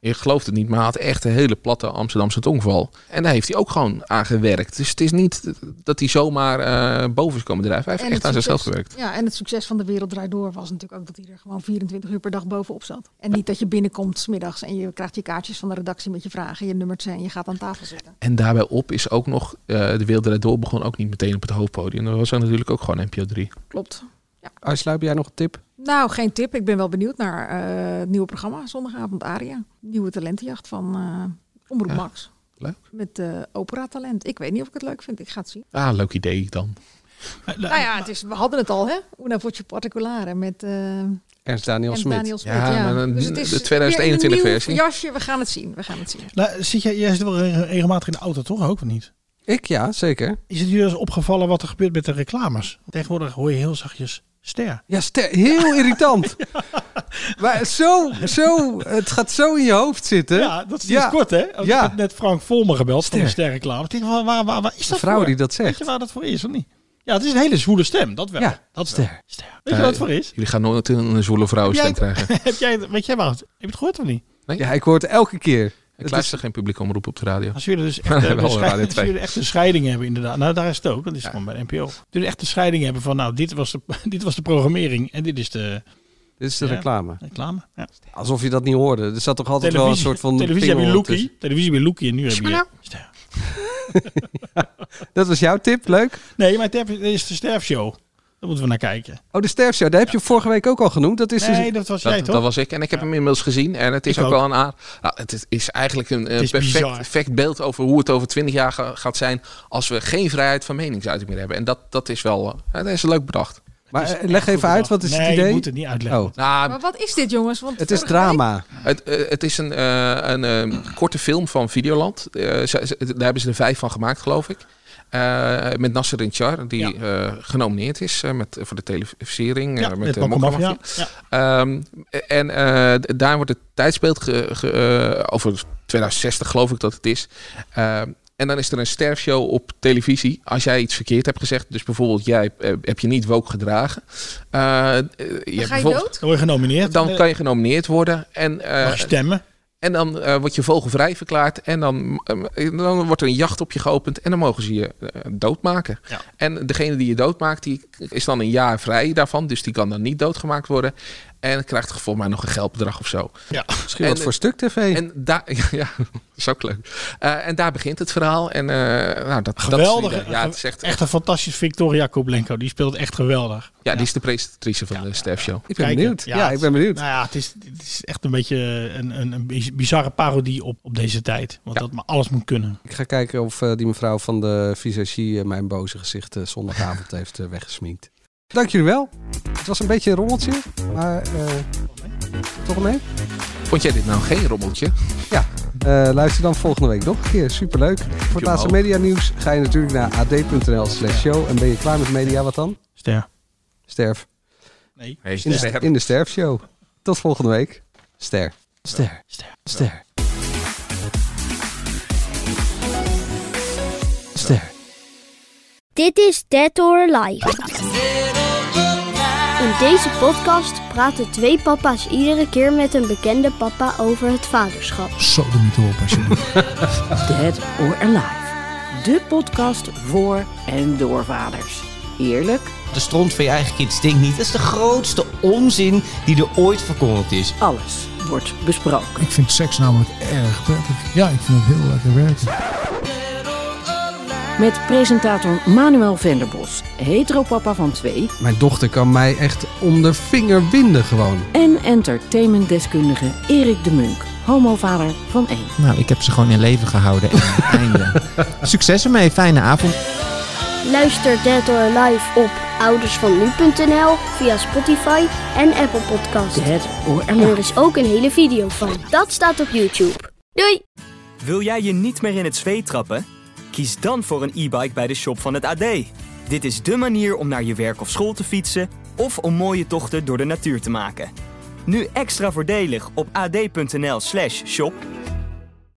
H: Ik geloof het niet, maar hij had echt een hele platte Amsterdamse tongval. En daar heeft hij ook gewoon aan gewerkt. Dus het is niet dat hij zomaar eh, boven is komen drijven. Hij heeft
I: En
H: echt
I: het dus-
H: aan zichzelf
I: succes-
H: gewerkt.
I: Ja, en het succes van de wereld draait door was natuurlijk ook dat hij er gewoon 24 uur per dag bovenop zat. En niet dat je binnenkomt smiddags en je krijgt je kaartjes van de redactie met je vragen, je nummert zijn en je gaat aan tafel zitten.
H: En daarbij op is ook nog, eh, de Wereld Draait Door begon ook niet meteen op het hoofdpodium. Dat was dan natuurlijk ook gewoon NPO 3.
I: Klopt.
C: Uitsluip jij nog een tip?
I: Nou, geen tip. Ik ben wel benieuwd naar eh, het nieuwe programma zondagavond Aria. Nieuwe talentenjacht van eh Omroep
H: Ja,
I: Max.
H: leuk.
I: Met eh opera talent. Ik weet niet of ik het leuk vind. Ik ga het zien.
H: Ah, leuk idee dan.
B: Eh,
I: nou ja, het is, we hadden het al, hè? Una voce particulare met eh,
C: Ernst Daniel
I: Ernst
C: Smit.
I: Daniel Smit.
H: Ja,
I: Ja,
H: maar dan-
I: dus het is
H: de 2021
I: weer een nieuw
H: versie.
I: Jasje, we gaan het zien. We gaan het zien.
B: Nou, zit jij, jij zit wel re- regelmatig in de auto, toch? Ook of niet?
C: Ik ja, zeker.
B: Is het jullie eens opgevallen wat er gebeurt met de reclames? Tegenwoordig hoor je heel zachtjes ster.
C: Ja, ster- <laughs> heel irritant. Maar zo, zo, het gaat zo in je hoofd zitten.
B: Ja, dat is sinds kort, hè? Ik
C: Ja.
B: heb net Frank Volmer gebeld van de
C: Ster.
B: sterreclame. Ik denk, waar, waar, waar, waar is dat
C: vrouw
B: voor?
C: die dat zegt.
B: Weet je waar dat voor is, of niet? Ja, het is een hele zwoele stem, dat wel.
C: Ja,
B: dat
C: ster.
B: wel. ster. Weet je wat het voor is?
H: Jullie gaan nooit een zwoele vrouwenstem krijgen.
B: <laughs>
I: <laughs>
B: heb jij, het- weet jij waar het, heb je het gehoord of niet?
C: Ja, ik hoor het elke keer.
H: Ik luister geen publiek omroep op de
B: <laughs>
H: radio.
B: Als jullie dus echt,
H: Maar
B: eh,
H: we hebben
B: een
H: wel
B: scheid-
H: Radio
B: als
H: 2.
B: jullie echt een scheiding hebben, inderdaad. Nou, daar is het ook. Dat is gewoon bij de NPO. Als jullie echt een scheiding hebben van, nou, dit was de, <laughs> dit was de programmering en dit is de...
C: Dit is de
B: Ja,
C: reclame.
B: Reclame, ja.
C: Alsof je dat niet hoorde. Er zat toch altijd wel een soort van...
B: televisie heb je
C: pingel
B: Loekie. Televisie bij Loekie en nu heb je...
C: tussen. Dat was jouw tip, leuk.
B: Nee, maar het is de sterfshow. Daar moeten we naar kijken.
C: Oh, de sterfshow, daar heb je vorige week ook al genoemd. Dat is dus-
B: Nee, dat was jij, toch?
H: Dat was ik. En ik heb hem inmiddels gezien. En het is
B: Ik
H: ook,
B: ook.
H: wel een aard. Nou, het is eigenlijk een eh,
B: Het is
H: perfect,
B: bizar.
H: perfect beeld over hoe het over twintig jaar ga- gaat zijn. Als we geen vrijheid van meningsuiting meer hebben. En dat, dat is wel. eh, dat is leuk bedacht.
C: Maar eh, leg even uit, wat is
B: Nee,
C: het
B: je
C: idee?
B: moet het niet uitleggen.
C: Oh.
H: Nou,
I: Maar wat is dit, jongens? Want
C: Het is
I: vorige week-
C: drama.
H: Het, eh, het is een, ehm, eh, een eh, korte film van Videoland. Eh, ze- ze- daar hebben ze er vijf van gemaakt, geloof ik. Eh, met Nasser Char, die eh, genomineerd is eh, met, voor de televisiering.
B: Ja,
H: eh,
B: met
H: de
B: Mokka
H: Mokka
B: Mafia.
H: Mafia. Ehm, en eh, d- daar wordt het tijdsbeeld ge- ge- eh, over 2060 geloof ik dat het is. Ehm, en dan is er een sterfshow op televisie. Als jij iets verkeerd hebt gezegd, dus bijvoorbeeld jij eh, heb je niet woke gedragen. Eh, eh, je hebt bijvoorbeeld-
B: Dan word je genomineerd.
H: dan kan je genomineerd worden. En, eh,
B: Mag je stemmen.
H: En dan eh, word je vogelvrij verklaard. En dan, eh, dan wordt er een jacht op je geopend. En dan mogen ze je eh, doodmaken. En degene die je doodmaakt, die is dan een jaar vrij daarvan. Dus die kan dan niet doodgemaakt worden. En krijgt volgens mij nog een geldbedrag of zo.
B: Ja.
C: Misschien wat voor stuk tv.
H: En daar, <laughs> ja, dat is ook leuk. Eh, en daar begint het verhaal. En eh, nou, dat, dat is het
B: Geweldig.
H: idee. ja, het is echt,
B: een fantastisch Victoria Koblenko. Die speelt echt geweldig.
H: ja, die is de presentatrice van de Stef Show.
C: Ik ben benieuwd. Ja, ik ben benieuwd.
B: Nou ja, het is, het is echt een beetje een, een, een biz- bizarre parodie op, op deze tijd. Want dat maar alles moet kunnen.
C: Ik ga kijken of eh, die mevrouw van de visagie eh, mijn boze gezicht eh, zondagavond <laughs> heeft eh, weggesminkt. Dank jullie wel. Het was een beetje een rommeltje, maar eh, toch wel mee.
H: Vond jij dit nou geen rommeltje?
C: Ja, eh, luister dan volgende week nog een keer. Superleuk. Voor het laatste
H: omhoog.
C: medianieuws ga je natuurlijk naar ad.nl slash show. En ben je klaar met media, wat dan?
B: Ster.
C: Sterf.
B: Nee.
H: Nee,
C: In de,
H: ster.
C: in de sterfshow. Tot volgende week. Ster. Ster. Ster. Ster. Ster.
Q: Dit is Dead or Alive. In deze podcast praten twee papa's iedere keer met een bekende papa over het vaderschap.
B: Zo de mythe op alsjeblieft.
R: Dead or Alive. De podcast voor en door vaders. Eerlijk,
S: De stront van je eigen kind stinkt niet. Dat is de grootste onzin die er ooit verkondigd is.
R: alles wordt besproken.
T: Ik vind seks namelijk erg prettig. Ja, ik vind het heel lekker werken.
R: Met presentator Manuel Venderbos, heteropapa van twee...
C: Mijn dochter kan mij echt om de vinger winden gewoon.
R: en entertainmentdeskundige Erik de Munk, homovader van één.
S: Nou, ik heb ze gewoon in leven gehouden. En <laughs> het einde. Succes ermee. Fijne avond.
Q: Luister Dead or Alive op oudersvannu.nl via Spotify en Apple Podcasts. En er is ook een hele video van. Dat staat op YouTube. Doei!
A: Wil jij je niet meer in het zweet trappen? Kies dan voor een e-bike bij de shop van het AD. Dit is dé manier om naar je werk of school te fietsen of om mooie tochten door de natuur te maken. Nu extra voordelig op ad.nl/shop.